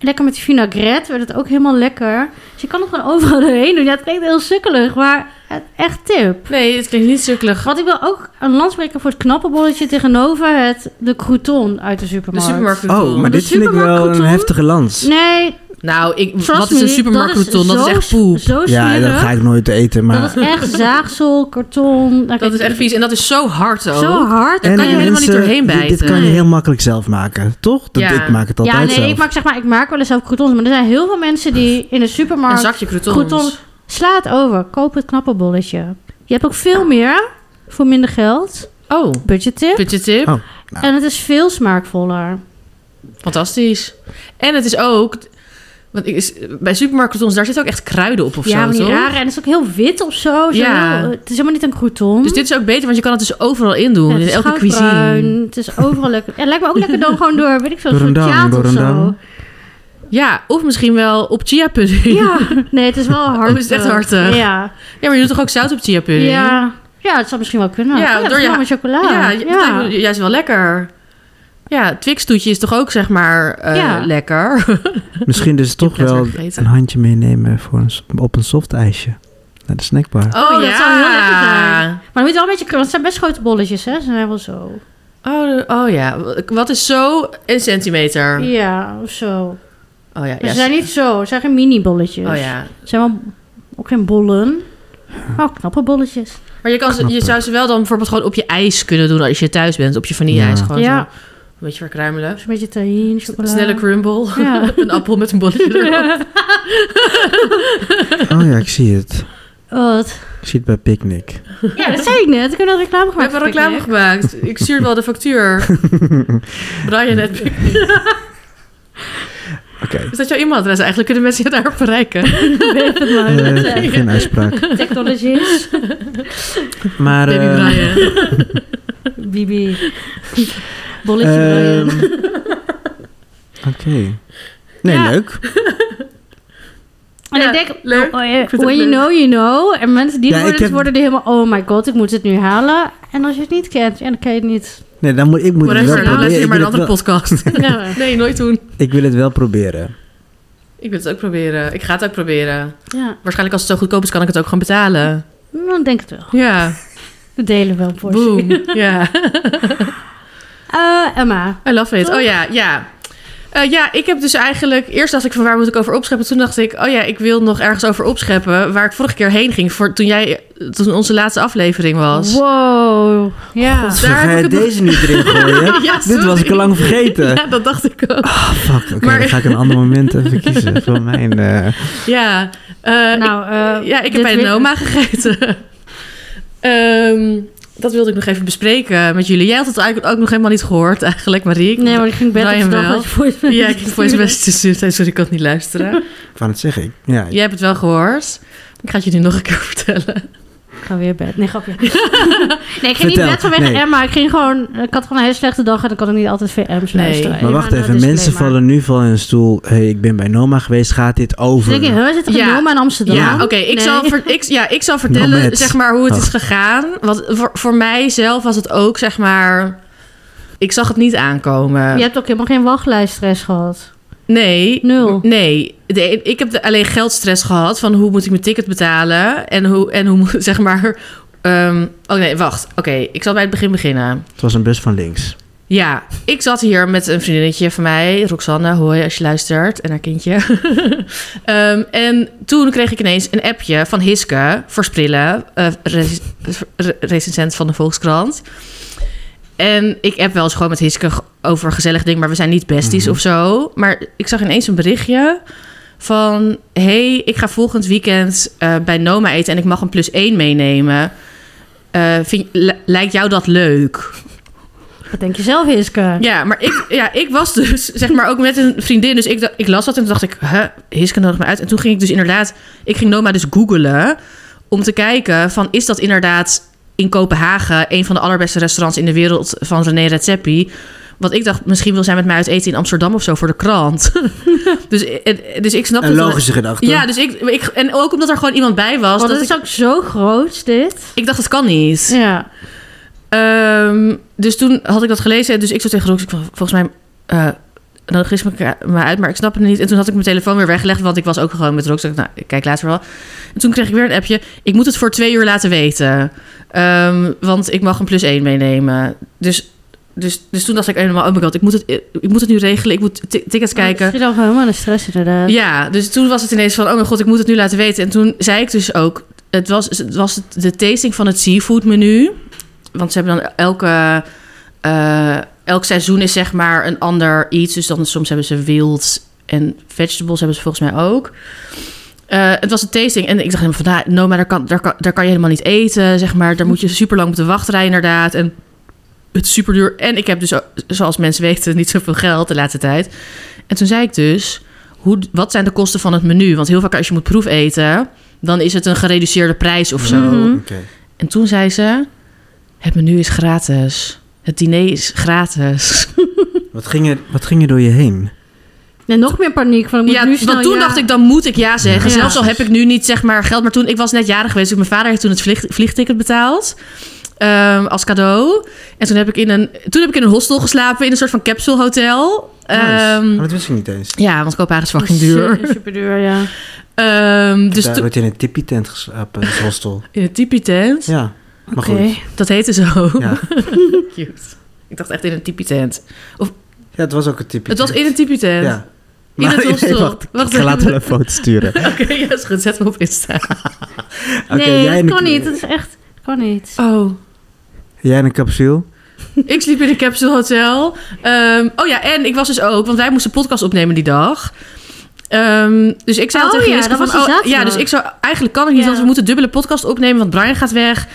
Speaker 3: Lekker met die vinaigrette werd het ook helemaal lekker. Dus je kan er gewoon overal [laughs] doorheen doen. Ja, het klinkt heel sukkelig, maar het- echt tip.
Speaker 2: Nee, het klinkt niet sukkelig.
Speaker 3: Want ik wil ook een landspreker voor het knappe bolletje tegenover het de crouton uit de
Speaker 2: De
Speaker 3: supermarkt.
Speaker 2: supermarkt.
Speaker 1: Oh, maar
Speaker 3: De
Speaker 1: dit vind ik wel een
Speaker 3: supermarktcrouton?
Speaker 1: heftige lans.
Speaker 3: Nee,
Speaker 2: Nou, ik,
Speaker 3: trust
Speaker 2: wat is
Speaker 3: me,
Speaker 2: een supermarktkroton? Dat, is echt
Speaker 3: zo-
Speaker 2: poep.
Speaker 3: Zo
Speaker 1: Ja,
Speaker 3: smerig.
Speaker 1: dat ga ik nooit eten, maar...
Speaker 3: Dat is echt zaagsel, karton. Nou,
Speaker 2: Dat
Speaker 3: kijk,
Speaker 2: is echt vies. En dat is zo hard ook.
Speaker 3: Zo hard.
Speaker 2: Daar kan je
Speaker 1: mensen,
Speaker 2: helemaal niet doorheen
Speaker 1: dit- Dit,
Speaker 2: bijten.
Speaker 1: kan je
Speaker 3: Nee.
Speaker 1: heel makkelijk zelf maken, toch? Dat,
Speaker 2: Ja.
Speaker 1: Ik maak het altijd
Speaker 3: ja, nee,
Speaker 1: zelf.
Speaker 3: ik maak zeg maar, ik maak wel eens zelf croutons, maar er zijn heel veel mensen
Speaker 1: [laughs]
Speaker 3: die in de
Speaker 2: Een
Speaker 3: supermarkt
Speaker 2: zakje croutons.
Speaker 3: croutons slaat over. Koop het knappe bolletje. Je hebt ook veel meer voor minder geld.
Speaker 2: Oh,
Speaker 3: Budgettip.
Speaker 2: putje tip.
Speaker 1: Oh.
Speaker 3: En het is veel smaakvoller.
Speaker 2: Fantastisch. En het is ook... Want ik is, bij supermarktcroutons, daar zitten ook echt kruiden op of
Speaker 3: ja,
Speaker 2: zo,
Speaker 3: maar die
Speaker 2: toch?
Speaker 3: rare. En het is ook heel wit of zo. zo
Speaker 2: Ja.
Speaker 3: heel- het is helemaal niet een crouton.
Speaker 2: Dus dit is ook beter, want je kan het dus overal in doen.
Speaker 3: Ja, het
Speaker 2: in
Speaker 3: is
Speaker 2: elke
Speaker 3: goudbruin,
Speaker 2: cuisine.
Speaker 3: Het is overal lekker. Ja, lijkt me ook lekker
Speaker 1: [laughs]
Speaker 3: dan gewoon door, weet ik veel,
Speaker 1: Door een
Speaker 3: een soort
Speaker 1: dam,
Speaker 3: jaat
Speaker 1: door
Speaker 3: of
Speaker 1: een
Speaker 3: zo.
Speaker 1: dam.
Speaker 2: Ja, of misschien wel op chia pudding.
Speaker 3: [laughs] Ja, nee, het is wel hard.
Speaker 2: Oh, is het echt
Speaker 3: eh,
Speaker 2: hartig?
Speaker 3: Ja.
Speaker 2: [laughs] Ja, maar je doet toch ook zout op chia pudding?
Speaker 3: ja. Ja, het zou misschien wel kunnen. Oh,
Speaker 2: Ja,
Speaker 3: Ja,
Speaker 2: door
Speaker 3: door
Speaker 2: je-
Speaker 3: met chocola.
Speaker 2: Ja, ja, dat lijkt me juist wel lekker. Ja, Twix toetje is toch ook zeg maar eh,
Speaker 3: Ja.
Speaker 2: lekker.
Speaker 1: Misschien dus toch
Speaker 2: net
Speaker 1: wel
Speaker 2: weer vergeten.
Speaker 1: een handje meenemen voor een, s- op een soft ijsje. Naar de snackbar.
Speaker 2: [laughs]
Speaker 3: Oh, dat zou heel lekker zijn. Maar dan moet je wel een beetje krullen. Het zijn best grote bolletjes, hè? Ze zijn wel zo.
Speaker 2: Oh, de- oh ja, wat is zo een centimeter?
Speaker 3: Ja, of zo.
Speaker 2: Oh ja,
Speaker 3: Maar
Speaker 2: ja,
Speaker 3: ze zijn niet zo. Ze zijn geen mini-bolletjes.
Speaker 2: Oh ja.
Speaker 3: Ze zijn wel ook geen bollen. Maar ook knappe bolletjes.
Speaker 2: Maar je, kan ze, je
Speaker 1: Knapper.
Speaker 2: zou ze wel dan bijvoorbeeld gewoon op je ijs kunnen doen als je thuis bent. Op je vanille-ijs
Speaker 1: Ja.
Speaker 2: gewoon
Speaker 3: Ja.
Speaker 2: zo een beetje verkruimelen.
Speaker 3: Dus een beetje tahine, chocola.
Speaker 2: Snelle crumble. [laughs]
Speaker 3: Ja.
Speaker 2: een appel met een bolletje erop.
Speaker 1: Oh ja, ik zie het.
Speaker 3: [laughs] Wat?
Speaker 1: Ik zie het bij Picnic.
Speaker 2: [laughs]
Speaker 3: Ja, dat [laughs] zei ik net. Ik heb net reclame
Speaker 2: We
Speaker 3: gemaakt.
Speaker 2: hebben reclame
Speaker 3: Picnic.
Speaker 2: gemaakt. Ik stuur wel de factuur. Brian net.
Speaker 1: [laughs] Oké.
Speaker 2: Is dat jouw e-mailadres eigenlijk? Kunnen mensen je daar [laughs] bereiken?
Speaker 3: [laughs] Ik weet het
Speaker 2: Oh,
Speaker 3: maar.
Speaker 1: Eh,
Speaker 3: Dat zei ik.
Speaker 1: geen uitspraak.
Speaker 2: Eh, [laughs]
Speaker 3: Technologies.
Speaker 1: Maar,
Speaker 2: Baby
Speaker 1: ehm,
Speaker 2: eh,
Speaker 1: [laughs]
Speaker 2: Brian.
Speaker 3: Bibi. Bolletje
Speaker 1: ehm,
Speaker 3: Brian.
Speaker 1: [laughs] Oké. Nee,
Speaker 2: Ja.
Speaker 1: leuk.
Speaker 3: En
Speaker 2: Ja,
Speaker 3: ik denk,
Speaker 2: leuk.
Speaker 3: oh, eh,
Speaker 2: Ik vind het
Speaker 3: when you
Speaker 2: leuk.
Speaker 3: know, you know. En mensen die
Speaker 1: Ja,
Speaker 3: het
Speaker 1: ik
Speaker 3: worden,
Speaker 1: heb-
Speaker 3: worden er helemaal, oh my god, ik moet het nu halen. En als je het niet kent, ja, dan ken je het
Speaker 2: [laughs]
Speaker 3: niet.
Speaker 1: Nee, dan moet, ik moet het wel
Speaker 2: Whatever, nou
Speaker 1: proberen.
Speaker 2: luister je
Speaker 1: Ik
Speaker 2: maar een
Speaker 1: wil, het
Speaker 2: andere
Speaker 1: wel, [laughs]
Speaker 2: podcast.
Speaker 3: Ja,
Speaker 2: Nee, nooit doen.
Speaker 1: ik wil het wel proberen.
Speaker 2: Ik wil het ook proberen. Ik ga het ook proberen.
Speaker 3: ja.
Speaker 2: Waarschijnlijk als het zo goedkoop is, kan ik het ook gewoon betalen.
Speaker 3: dan denk ik het wel.
Speaker 2: Ja,
Speaker 3: We delen wel een portie.
Speaker 2: boom. [laughs] Ja.
Speaker 3: Eh, Emma.
Speaker 2: I love it.
Speaker 3: Toch?
Speaker 2: Oh ja, ja. Eh, ja, ik heb dus eigenlijk... Eerst dacht ik van waar moet ik over opscheppen? Toen dacht ik, oh ja, ik wil nog ergens over opscheppen... waar ik vorige keer heen ging voor, toen, jij, toen onze laatste aflevering was.
Speaker 3: Wow. Ja.
Speaker 2: God.
Speaker 1: Zo
Speaker 2: Daar
Speaker 1: ga
Speaker 2: heb
Speaker 1: je
Speaker 2: ik het nog-
Speaker 1: deze niet
Speaker 2: [laughs]
Speaker 1: erin gooien?
Speaker 2: Ja,
Speaker 1: Dit was ik al lang vergeten.
Speaker 2: Ja, dat dacht ik ook.
Speaker 1: Ah, fuck. Oké,
Speaker 2: Maar-
Speaker 1: dan ga ik een ander moment
Speaker 2: [laughs]
Speaker 1: even kiezen van mijn... eh,
Speaker 2: Ja, eh,
Speaker 3: nou, eh,
Speaker 2: ik, ja ik
Speaker 3: dit
Speaker 2: heb bij
Speaker 3: weer-
Speaker 2: een oma gegeten. [laughs] Ehm, dat wilde ik nog even bespreken met jullie. Jij had het eigenlijk ook nog helemaal niet gehoord eigenlijk, Marie.
Speaker 3: Nee, maar ik ging bed op
Speaker 2: Brian
Speaker 3: de dag
Speaker 2: wel.
Speaker 3: dat je voor het
Speaker 2: [laughs] Ja, ik heb
Speaker 3: [laughs]
Speaker 2: voor het best tussen. Sorry, ik kan het niet luisteren.
Speaker 1: Ik wou het zeggen. Ik- Ja,
Speaker 2: Jij hebt het wel gehoord. Ik ga het je nu nog een keer [laughs] vertellen.
Speaker 3: Ik ga weer bed.
Speaker 2: [laughs]
Speaker 3: Nee, grapje. nee, ik ging
Speaker 1: Vertel.
Speaker 3: niet bed vanwege
Speaker 1: Nee.
Speaker 3: Emma. Ik ging gewoon... Ik had gewoon een hele slechte dag en dan kan ik niet altijd VM's
Speaker 2: Nee.
Speaker 3: luisteren. nou,
Speaker 1: maar wacht even. Mensen vallen nu van hun stoel. hey, ik ben bij Noma geweest. Gaat dit
Speaker 3: Ze
Speaker 1: over?
Speaker 3: denken, Dus huh, zit er een
Speaker 2: Ja.
Speaker 3: oma in Amsterdam?
Speaker 2: Ja, oké. ik,
Speaker 3: Nee.
Speaker 2: zal ver- ik, ja, ik zal vertellen
Speaker 1: Nomad.
Speaker 2: zeg maar, hoe het is
Speaker 1: Oh.
Speaker 2: gegaan. Want voor, voor mijzelf was het ook, zeg maar... Ik zag het niet aankomen.
Speaker 3: Je hebt ook helemaal geen wachtlijststress gehad.
Speaker 2: Nee.
Speaker 3: Nul.
Speaker 2: Nee. De- ik heb de- alleen geldstress gehad van hoe moet ik mijn ticket betalen. En hoe, en hoe moet, [laughs] zeg maar... ehm, oh nee, wacht. Oké, ik zal bij het begin beginnen.
Speaker 1: Het was een bus van links.
Speaker 2: Ja, ik zat hier met een vriendinnetje van mij, Roxanne, hoi als je luistert, en haar kindje. [laughs] Ehm, en toen kreeg ik ineens een appje van Hiske voor Sprillen, eh, rec- re- recensent van de Volkskrant. En ik app wel eens gewoon met Hiske g- over een gezellig ding, maar we zijn niet besties
Speaker 1: Mhm.
Speaker 2: of zo. Maar ik zag ineens een berichtje van... hey, ik ga volgend weekend eh, bij Noma eten en ik mag een plus één meenemen. Eh, vind, li- lijkt jou dat leuk?
Speaker 3: Wat denk je zelf, Hiske?
Speaker 2: Ja, maar ik, ja, ik was dus zeg maar ook met een vriendin. Dus ik, da- ik las dat en toen dacht ik, huh, Hiske nodig me uit. En toen ging ik dus inderdaad, ik ging Noma dus googelen om te kijken van is dat inderdaad in Kopenhagen een van de allerbeste restaurants in de wereld van René Redzepi. Want ik dacht, misschien wil zij met mij uit eten in Amsterdam of zo voor de krant. [laughs] dus, en- dus ik snapte
Speaker 1: Een
Speaker 2: wel-
Speaker 1: logische gedachte.
Speaker 2: Ja, dus ik, ik, en ook omdat er gewoon iemand bij was.
Speaker 3: Want
Speaker 2: Dat
Speaker 3: het
Speaker 2: ik,
Speaker 3: Oh, is ook zo groot, dit.
Speaker 2: ik dacht, dat kan niet.
Speaker 3: Ja.
Speaker 2: Ehm, dus toen had ik dat gelezen. Dus ik zo tegen Rox, ik van, volgens mij... eh dan gis ik me- me uit, maar ik snap het niet. En toen had ik mijn telefoon weer weggelegd, want ik was ook gewoon met Rox. Ik dacht, Nou, ik kijk later wel. En toen kreeg ik weer een appje. Ik moet het voor twee uur laten weten. Ehm, want ik mag een plus één meenemen. Dus, dus, dus toen dacht ik helemaal, oh my god, ik moet het, ik moet het nu regelen. Ik moet ti- tickets kijken.
Speaker 3: Je dan gewoon helemaal in de stress, inderdaad.
Speaker 2: Ja, dus toen was het ineens van, oh mijn god, ik moet het nu laten weten. En toen zei ik dus ook, het was, het was de tasting van het seafood menu. Want ze hebben dan elke, eh, elk seizoen is zeg maar een ander iets. Dus dan soms hebben ze wild en vegetables hebben ze volgens mij ook. Eh, het was een tasting en ik dacht helemaal van, nou, no, maar daar kan, daar, kan, daar kan je helemaal niet eten, zeg maar. Daar moet je super lang op de wachtrij inderdaad. En het is super duur. En ik heb dus, zoals mensen weten, niet zoveel geld de laatste tijd. En toen zei ik dus, hoe, wat zijn de kosten van het menu? Want heel vaak als je moet proefeten, dan is het een gereduceerde prijs of zo.
Speaker 3: Mhm.
Speaker 1: Oké.
Speaker 2: En toen zei ze, het menu is gratis. Het diner is gratis.
Speaker 1: Wat, ging er, wat ging er door je heen?
Speaker 3: En nog meer paniek. Van, ik moet
Speaker 2: Ja,
Speaker 3: nu snel
Speaker 2: want toen
Speaker 3: ja.
Speaker 2: dacht ik, dan moet ik ja zeggen.
Speaker 3: Ja.
Speaker 2: Zelfs al heb ik nu niet zeg maar geld. Maar toen, ik was net jarig geweest. Dus mijn vader heeft toen het vlieg- vliegticket betaald. ehm, als cadeau. En toen heb, ik in een, toen heb ik in een hostel geslapen. In een soort van capsule hotel.
Speaker 1: Nice.
Speaker 2: Ehm,
Speaker 1: Maar Nou, dus- oh, dat wist ik niet eens.
Speaker 2: ja, want Kopenhagen is fucking
Speaker 3: Oh,
Speaker 2: duur.
Speaker 3: [laughs] Super duur, ja.
Speaker 2: Ehm,
Speaker 1: Dus
Speaker 2: dus
Speaker 1: Daar
Speaker 2: toen-
Speaker 1: werd je in een tippie-tent geslapen, in het
Speaker 2: [laughs]
Speaker 1: hostel.
Speaker 2: in een tipi tent.
Speaker 1: Ja, maar
Speaker 3: Oké.
Speaker 1: goed.
Speaker 2: Dat heette zo. [laughs]
Speaker 1: Ja.
Speaker 2: Cute. Ik dacht echt in een tipi tent.
Speaker 1: ja, het was ook een tippie
Speaker 2: Het was in een tipi tent.
Speaker 1: Ja.
Speaker 2: In
Speaker 1: [laughs]
Speaker 2: het hostel. Wacht
Speaker 1: ik ga later
Speaker 2: even.
Speaker 1: een foto
Speaker 2: [laughs]
Speaker 1: sturen. Oké,
Speaker 2: Oké, ja, is goed. Zet hem op Insta.
Speaker 3: nee,
Speaker 1: jij, in
Speaker 3: dat kan
Speaker 1: een-
Speaker 3: niet. Dat is echt... dat kan
Speaker 2: [laughs]
Speaker 3: niet.
Speaker 2: Oh.
Speaker 1: jij in een capsule.
Speaker 2: Ik sliep in een capsule hotel. Ehm, oh ja, en ik was dus ook, want wij moesten podcast opnemen die dag. Ehm, dus ik zei
Speaker 3: Oh
Speaker 2: al tegen
Speaker 3: ja,
Speaker 2: Jessica
Speaker 3: dat was
Speaker 2: van,
Speaker 3: die
Speaker 2: oh, ja,
Speaker 3: zaterdag.
Speaker 2: dus ik zou eigenlijk kan het niet,
Speaker 3: Ja.
Speaker 2: want we moeten dubbele podcast opnemen, want Brian gaat weg. En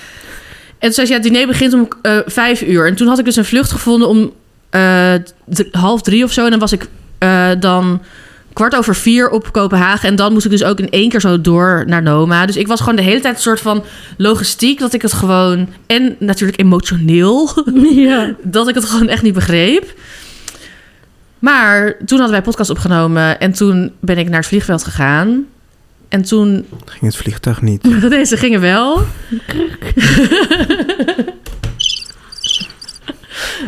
Speaker 2: toen zei ze, ja, het diner begint om eh, vijf uur. En toen had ik dus een vlucht gevonden om eh, d- half drie of zo. En dan was ik eh, dan kwart over vier op Kopenhagen. En dan moest ik dus ook in één keer zo door naar Noma. Dus ik was gewoon de hele tijd een soort van logistiek, dat ik het gewoon... En natuurlijk emotioneel
Speaker 3: ja.
Speaker 2: dat ik het gewoon echt niet begreep. Maar toen hadden wij podcast opgenomen en toen ben ik naar het vliegveld gegaan. En toen, [laughs]
Speaker 1: Ging het vliegtuig niet.
Speaker 2: deze gingen wel. [laughs]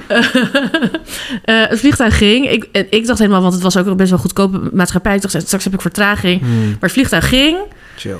Speaker 2: Eh, eh, het vliegtuig ging. Ik, en ik dacht helemaal, want het was ook een best wel goedkope maatschappij. Ik dacht, straks heb ik vertraging.
Speaker 1: Hmm,
Speaker 2: Maar het vliegtuig ging.
Speaker 1: chill.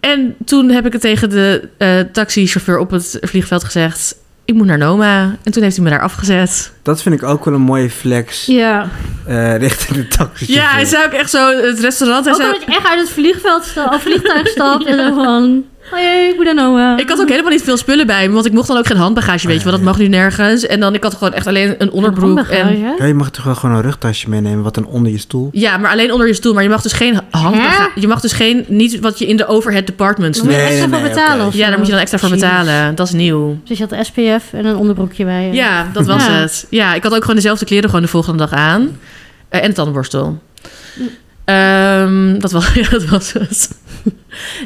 Speaker 2: En toen heb ik het tegen de eh taxichauffeur op het vliegveld gezegd. Ik moet naar Noma. En toen heeft hij me daar afgezet.
Speaker 1: Dat vind ik ook wel een mooie flex
Speaker 3: Ja.
Speaker 1: eh, richting de taxi.
Speaker 2: Ja, hij zei ook echt zo het restaurant. Hij
Speaker 3: Ook
Speaker 2: zei,
Speaker 3: omdat je echt uit het vliegveld sta- of vliegtuig stapt en dan van... Hoi, ik moet naar Noah.
Speaker 2: ik had ook helemaal niet veel spullen bij me, want ik mocht dan ook geen handbagage, weet je wel. Dat mag nu nergens. En dan, ik had gewoon echt alleen een onderbroek. En,
Speaker 3: Handbagage?
Speaker 1: Ja, je mag toch wel gewoon een rugtasje meenemen, wat dan onder je stoel.
Speaker 2: ja, maar alleen onder je stoel. Maar je mag dus geen handbagage. Je mag dus geen, niet wat je in de overhead departments
Speaker 3: Dan moet
Speaker 2: doet.
Speaker 3: je
Speaker 1: Nee,
Speaker 3: extra
Speaker 1: nee,
Speaker 3: voor
Speaker 1: nee,
Speaker 3: betalen
Speaker 1: oké.
Speaker 2: Ja,
Speaker 3: of
Speaker 2: daar
Speaker 3: zo.
Speaker 2: moet je dan extra voor
Speaker 3: Jeez.
Speaker 2: betalen. Dat is nieuw.
Speaker 3: Dus je had SPF en een onderbroekje bij je.
Speaker 2: Ja, dat was
Speaker 3: Ja.
Speaker 2: het. Ja, ik had ook gewoon dezelfde kleren gewoon de volgende dag aan. Eh, en tandenborstel. Ehm, dat, was, [laughs] ja, dat was het.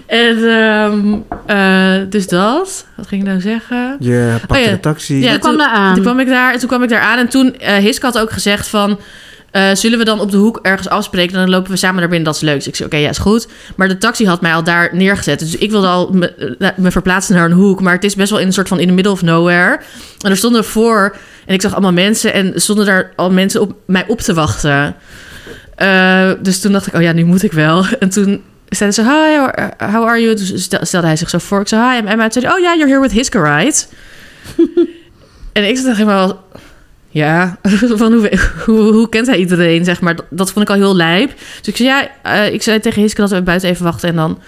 Speaker 2: en ehm, eh, dus dat. Wat ging ik nou zeggen?
Speaker 1: Je pakt
Speaker 2: Oh ja.
Speaker 1: de taxi.
Speaker 2: Ja,
Speaker 3: toen kwam
Speaker 2: toen-
Speaker 3: daar aan.
Speaker 2: Toen kwam ik daar, en toen kwam ik daar aan en toen eh Hiske had ook gezegd van... eh, zullen we dan op de hoek ergens afspreken? Dan lopen we samen naar binnen, dat is leuk. Dus ik zei, oké, ja, is goed. Maar de taxi had mij al daar neergezet. Dus ik wilde al me, eh, me verplaatsen naar een hoek. Maar het is best wel in een soort van in the middle of nowhere. En er stonden voor... En ik zag allemaal mensen en er stonden daar al mensen op mij op te wachten. Eh, dus toen dacht ik, oh ja, nu moet ik wel. [laughs] En toen zeiden ze, hi, how- how are you? Dus stel- stelde hij zich zo voor. Ik zei, hi, I'm Emma. Toen zei hij, oh ja, you're here with Hiske, right? En ik dacht helemaal, ja, [laughs] van hoe, hoe, hoe kent hij iedereen, zeg maar. Dat, dat vond ik al heel lijp. Dus ik zei, ja, eh, ik zei tegen Hiske dat we buiten even wachten en dan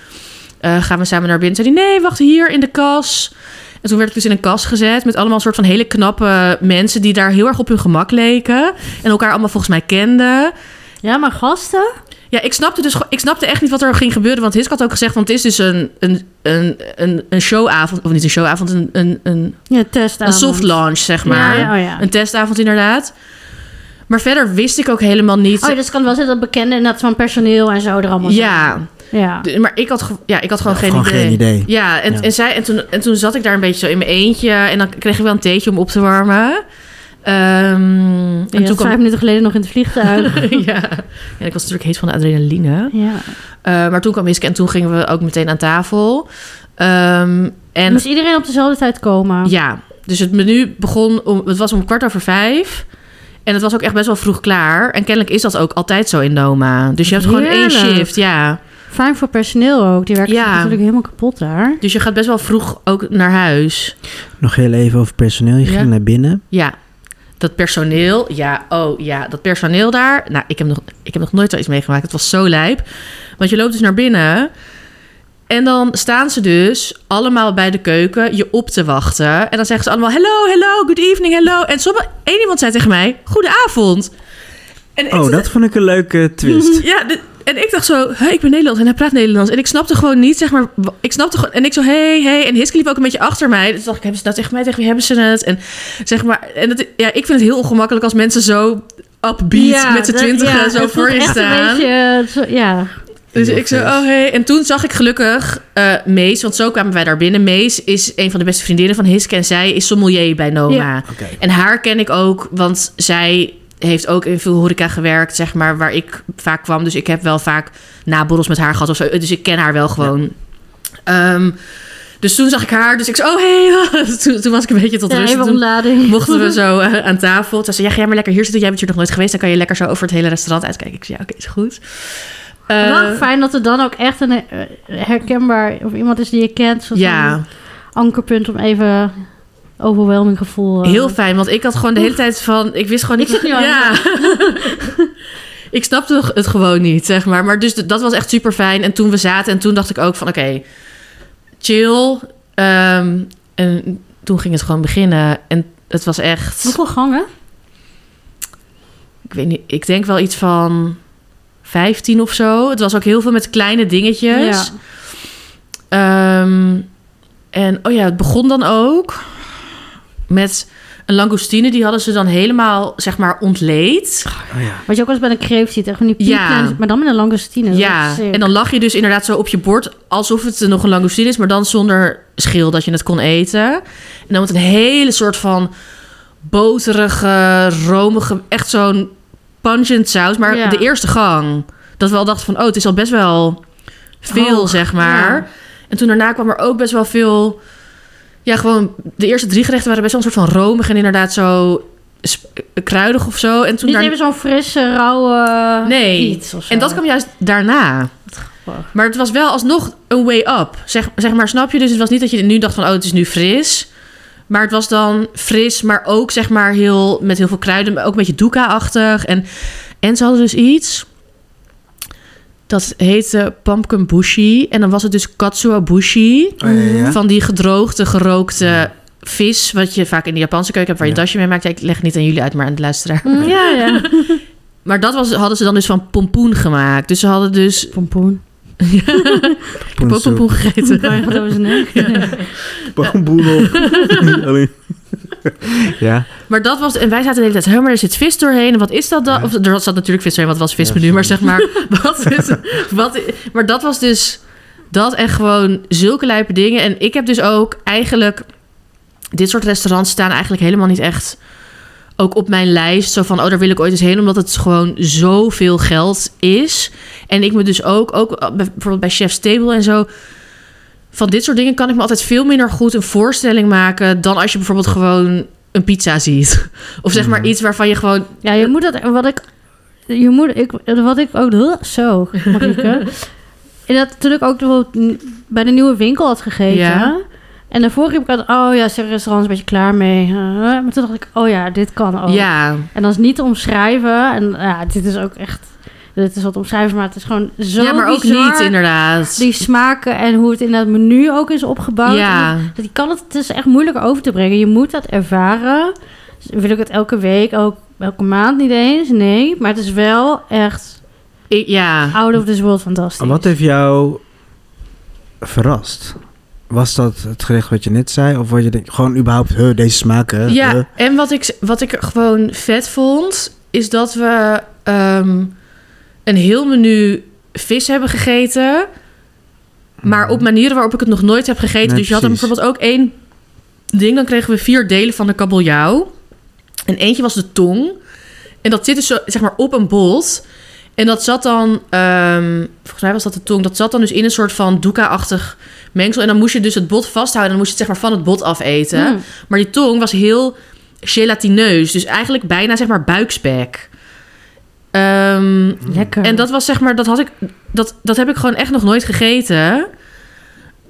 Speaker 2: eh, gaan we samen naar binnen. Toen zei hij, nee, wacht hier in de kas. En toen werd ik dus in een kas gezet met allemaal soort van hele knappe mensen die daar heel erg op hun gemak leken. En elkaar allemaal volgens mij kenden.
Speaker 3: Ja, maar gasten?
Speaker 2: Ja, ik snapte dus gewoon- ik snapte echt niet wat er ging gebeuren. Want Hiske had ook gezegd, want het is dus een, een, een, een, een showavond, of niet een showavond, een, een, een,
Speaker 3: Ja, test
Speaker 2: een soft launch, zeg maar.
Speaker 3: Ja, oh ja.
Speaker 2: Een testavond inderdaad. Maar verder wist ik ook helemaal niet.
Speaker 3: Oh, ja, dus het kan wel zijn dat bekenden inderdaad van personeel en zo er allemaal
Speaker 2: ja,
Speaker 3: zijn. Ja.
Speaker 2: d- maar ik had, ge- ja, ik had gewoon,
Speaker 1: Ja,
Speaker 2: geen,
Speaker 1: gewoon
Speaker 2: idee.
Speaker 1: geen idee.
Speaker 2: Ja, en,
Speaker 1: Ja.
Speaker 2: En, zij, en, toen, en toen zat ik daar een beetje zo in mijn eentje. En dan kreeg ik wel een theetje om op te warmen. Ehm, en
Speaker 3: En
Speaker 2: toen
Speaker 3: vijf
Speaker 2: kwam...
Speaker 3: minuten geleden nog in het
Speaker 2: [laughs]
Speaker 3: vliegtuig.
Speaker 2: ja. en ik was natuurlijk heet van de adrenaline.
Speaker 3: ja.
Speaker 2: Eh, maar toen kwam Hiske en toen gingen we ook meteen aan tafel. Ehm, en
Speaker 3: Moest iedereen op dezelfde tijd komen?
Speaker 2: Ja, dus het menu begon om, het was om kwart over vijf. En het was ook echt best wel vroeg klaar. En kennelijk is dat ook altijd zo in Noma. Dus je hebt gewoon één
Speaker 3: Heerlijk.
Speaker 2: shift, ja.
Speaker 3: Fijn voor personeel ook. Die werken
Speaker 2: Ja.
Speaker 3: zich natuurlijk helemaal kapot daar.
Speaker 2: Dus je gaat best wel vroeg ook naar huis.
Speaker 1: Nog heel even over personeel. Je
Speaker 2: Ja.
Speaker 1: ging naar binnen.
Speaker 2: Ja, dat personeel, ja, oh ja, dat personeel daar. Nou, ik heb nog, ik heb nog nooit zoiets meegemaakt. Het was zo lijp. Want je loopt dus naar binnen. En dan staan ze dus allemaal bij de keuken je op te wachten. En dan zeggen ze allemaal: Hello, hello, good evening, hello. En sommige, één iemand zei tegen mij: Goedenavond. En ik
Speaker 1: Oh,
Speaker 2: zat-
Speaker 1: dat vond ik een
Speaker 2: [laughs]
Speaker 1: leuke twist.
Speaker 2: Ja, dit- en ik dacht zo, hey, ik ben Nederlands en hij praat Nederlands. En ik snapte gewoon niet, zeg maar, wa- ik snapte gewoon... En ik zo, hey, hey. En Hiske liep ook een beetje achter mij. Dus dacht ik, hebben ze het nou tegen mij? Tegen wie hebben ze het? En zeg maar, en dat, ja, ik vind het heel ongemakkelijk als mensen zo upbeat
Speaker 3: Ja,
Speaker 2: met z'n
Speaker 3: dat-
Speaker 2: twintigen
Speaker 3: ja,
Speaker 2: zo
Speaker 3: dat
Speaker 2: voor
Speaker 3: voelt
Speaker 2: je
Speaker 3: echt Een
Speaker 2: staan.
Speaker 3: beetje, eh, zo, ja.
Speaker 2: Dus
Speaker 1: Heel
Speaker 2: ik zei,
Speaker 1: vers.
Speaker 2: oh hey. En toen zag ik gelukkig eh, Mees, want zo kwamen wij daar binnen. Mees is een van de beste vriendinnen van Hiske en zij is sommelier bij Noma.
Speaker 3: Ja.
Speaker 1: Oké.
Speaker 2: En haar ken ik ook, want zij heeft ook in veel horeca gewerkt, zeg maar, waar ik vaak kwam. Dus ik heb wel vaak naborrels met haar gehad of zo. Dus ik ken haar wel gewoon. Ehm, dus toen zag ik haar, dus ik zei, oh hey. [laughs] toen, toen was ik een beetje tot
Speaker 3: ja,
Speaker 2: rust. En
Speaker 3: even
Speaker 2: Toen
Speaker 3: omlading.
Speaker 2: mochten we zo eh, aan tafel. Toen zei ze, ja, ga jij maar lekker hier zitten. Jij bent hier nog nooit geweest. Dan kan je lekker zo over het hele restaurant uitkijken. Ik zei, ja, oké, is goed. Eh,
Speaker 3: Wel fijn dat er dan ook echt een eh, herkenbaar of iemand is die je kent. Zo'n
Speaker 2: ja,
Speaker 3: ankerpunt om even overwhelming gevoel. eh,
Speaker 2: heel fijn. Want ik had gewoon de hele tijd van... Ik wist gewoon
Speaker 3: Ik
Speaker 2: niet...
Speaker 3: zit nu al-
Speaker 2: ja. [laughs] ik snapte het gewoon niet, zeg maar. Maar dus d- dat was echt super fijn. En toen we zaten en toen dacht ik ook van... Oké, chill. Ehm, en toen ging het gewoon beginnen. En het was echt...
Speaker 3: Hoeveel gangen?
Speaker 2: Ik weet niet, ik denk wel iets van... 15 of zo. Het was ook heel veel met kleine dingetjes.
Speaker 3: Ja.
Speaker 2: Ehm, en oh ja, het begon dan ook met een langoustine. Die hadden ze dan helemaal, zeg maar, ontleed.
Speaker 1: Oh ja.
Speaker 3: Wat je ook wel eens bij een kreeft ziet. Echt van die
Speaker 2: Ja.
Speaker 3: piepkleine, maar dan met een langoustine.
Speaker 2: ja, en dan lag je dus inderdaad zo op je bord... alsof het nog een langoustine is, maar dan zonder schil dat je het kon eten. En dan met een hele soort van boterige, romige... echt zo'n pungent saus. Maar
Speaker 3: Ja.
Speaker 2: de eerste gang, dat we al dachten van... oh, het is al best wel veel,
Speaker 3: Hoog,
Speaker 2: zeg maar.
Speaker 3: ja.
Speaker 2: En toen daarna kwam er ook best wel veel... Ja, gewoon de eerste drie gerechten waren best wel een soort van romig... en inderdaad zo sp- kruidig of zo. En toen
Speaker 3: Niet
Speaker 2: daar-
Speaker 3: even zo'n frisse, rauwe
Speaker 2: Nee.
Speaker 3: iets of zo.
Speaker 2: en dat kwam juist daarna.
Speaker 3: grappig.
Speaker 2: Maar het was wel alsnog een way up. Zeg, zeg maar, snap je? Dus het was niet dat je nu dacht van... oh, het is nu fris. Maar het was dan fris, maar ook zeg maar heel... met heel veel kruiden, maar ook een beetje doeka-achtig. En, en ze hadden dus iets... dat heette pumpkin bushi. En dan was het dus katsuobushi.
Speaker 1: Oh, ja, ja, ja.
Speaker 2: Van die gedroogde, gerookte vis... wat je vaak in de Japanse keuken hebt... waar je
Speaker 1: Ja.
Speaker 2: dasje mee maakt. Ja, ik leg het niet aan jullie uit, maar aan de luisteraar.
Speaker 3: Mm, Ja,
Speaker 2: [laughs]
Speaker 3: ja.
Speaker 2: Maar dat was, hadden ze dan dus van pompoen gemaakt. Dus ze hadden dus...
Speaker 3: Pompoen.
Speaker 2: ook
Speaker 1: Poensoep.
Speaker 2: pompoen
Speaker 1: [laughs]
Speaker 2: gegeten.
Speaker 3: Waar je wat over zijn nek.
Speaker 2: [laughs]
Speaker 1: Pompoenel. Alleen. [laughs] ja.
Speaker 2: Maar dat was, en wij zaten de hele tijd, "Hè, maar er zit vis doorheen. En wat is dat dan?
Speaker 1: Ja.
Speaker 2: Of er zat natuurlijk vis doorheen, wat was vismenu?
Speaker 1: Ja,
Speaker 2: maar zeg maar, [laughs] wat is, wat i- maar dat was dus dat en gewoon zulke lijpe dingen. En ik heb dus ook eigenlijk, dit soort restaurants staan eigenlijk helemaal niet echt ook op mijn lijst. Zo van, oh, daar wil ik ooit eens heen, omdat het gewoon zoveel geld is. En ik me dus ook, ook bijvoorbeeld bij Chef's Table en zo, van dit soort dingen kan ik me altijd veel minder goed een voorstelling maken dan als je bijvoorbeeld gewoon een pizza ziet. [laughs] Of zeg
Speaker 3: Mm.
Speaker 2: maar iets waarvan je gewoon.
Speaker 3: [laughs] Ja, je moet dat... Wat ik... Je moet... Ik, wat ik ook... Huh, Zo,
Speaker 2: [laughs]
Speaker 3: Marieke. En dat toen ik ook bijvoorbeeld n- bij de nieuwe winkel had gegeten.
Speaker 2: Ja.
Speaker 3: En daarvoor riep ik altijd... Oh ja, zijn restaurant is een beetje klaar mee. Eh, maar toen dacht ik... Oh ja, dit kan ook.
Speaker 2: Ja,
Speaker 3: En dat is niet te omschrijven. En ja, dit is ook echt... Dit is wat omschrijven, maar het is gewoon zo
Speaker 2: ja maar ook
Speaker 3: bizar,
Speaker 2: niet inderdaad.
Speaker 3: Die smaken en hoe het in dat menu ook is opgebouwd.
Speaker 2: Ja.
Speaker 3: En Dat je kan het, het is echt moeilijk over te brengen. Je moet dat ervaren. Dus Wil ik het elke week, ook elke maand niet eens? Nee. Maar het is wel echt
Speaker 2: Ik- ja.
Speaker 3: out of this world fantastisch.
Speaker 1: Wat heeft jou verrast? Was dat het gerecht wat je net zei? Of wat je denkt, gewoon überhaupt, huh, deze smaken? huh?
Speaker 2: Ja, en wat ik, wat ik gewoon vet vond, is dat we ehm, een heel menu vis hebben gegeten. Maar op manieren waarop ik het nog nooit heb gegeten.
Speaker 1: Mhm. Nee,
Speaker 2: dus je had dan
Speaker 1: precies.
Speaker 2: bijvoorbeeld ook één ding. Dan kregen we vier delen van de kabeljauw. En eentje was de tong. En dat zit dus zo, zeg maar op een bot. En dat zat dan, ehm, volgens mij was dat de tong, dat zat dan dus in een soort van doeka-achtig mengsel. En dan moest je dus het bot vasthouden en dan moest je het zeg maar van het bot afeten.
Speaker 3: Mm.
Speaker 2: Maar die tong was heel gelatineus. Dus eigenlijk bijna zeg maar buikspek. Ehm,
Speaker 3: Lekker.
Speaker 2: en dat was zeg maar, dat had ik, dat, dat heb ik gewoon echt nog nooit gegeten.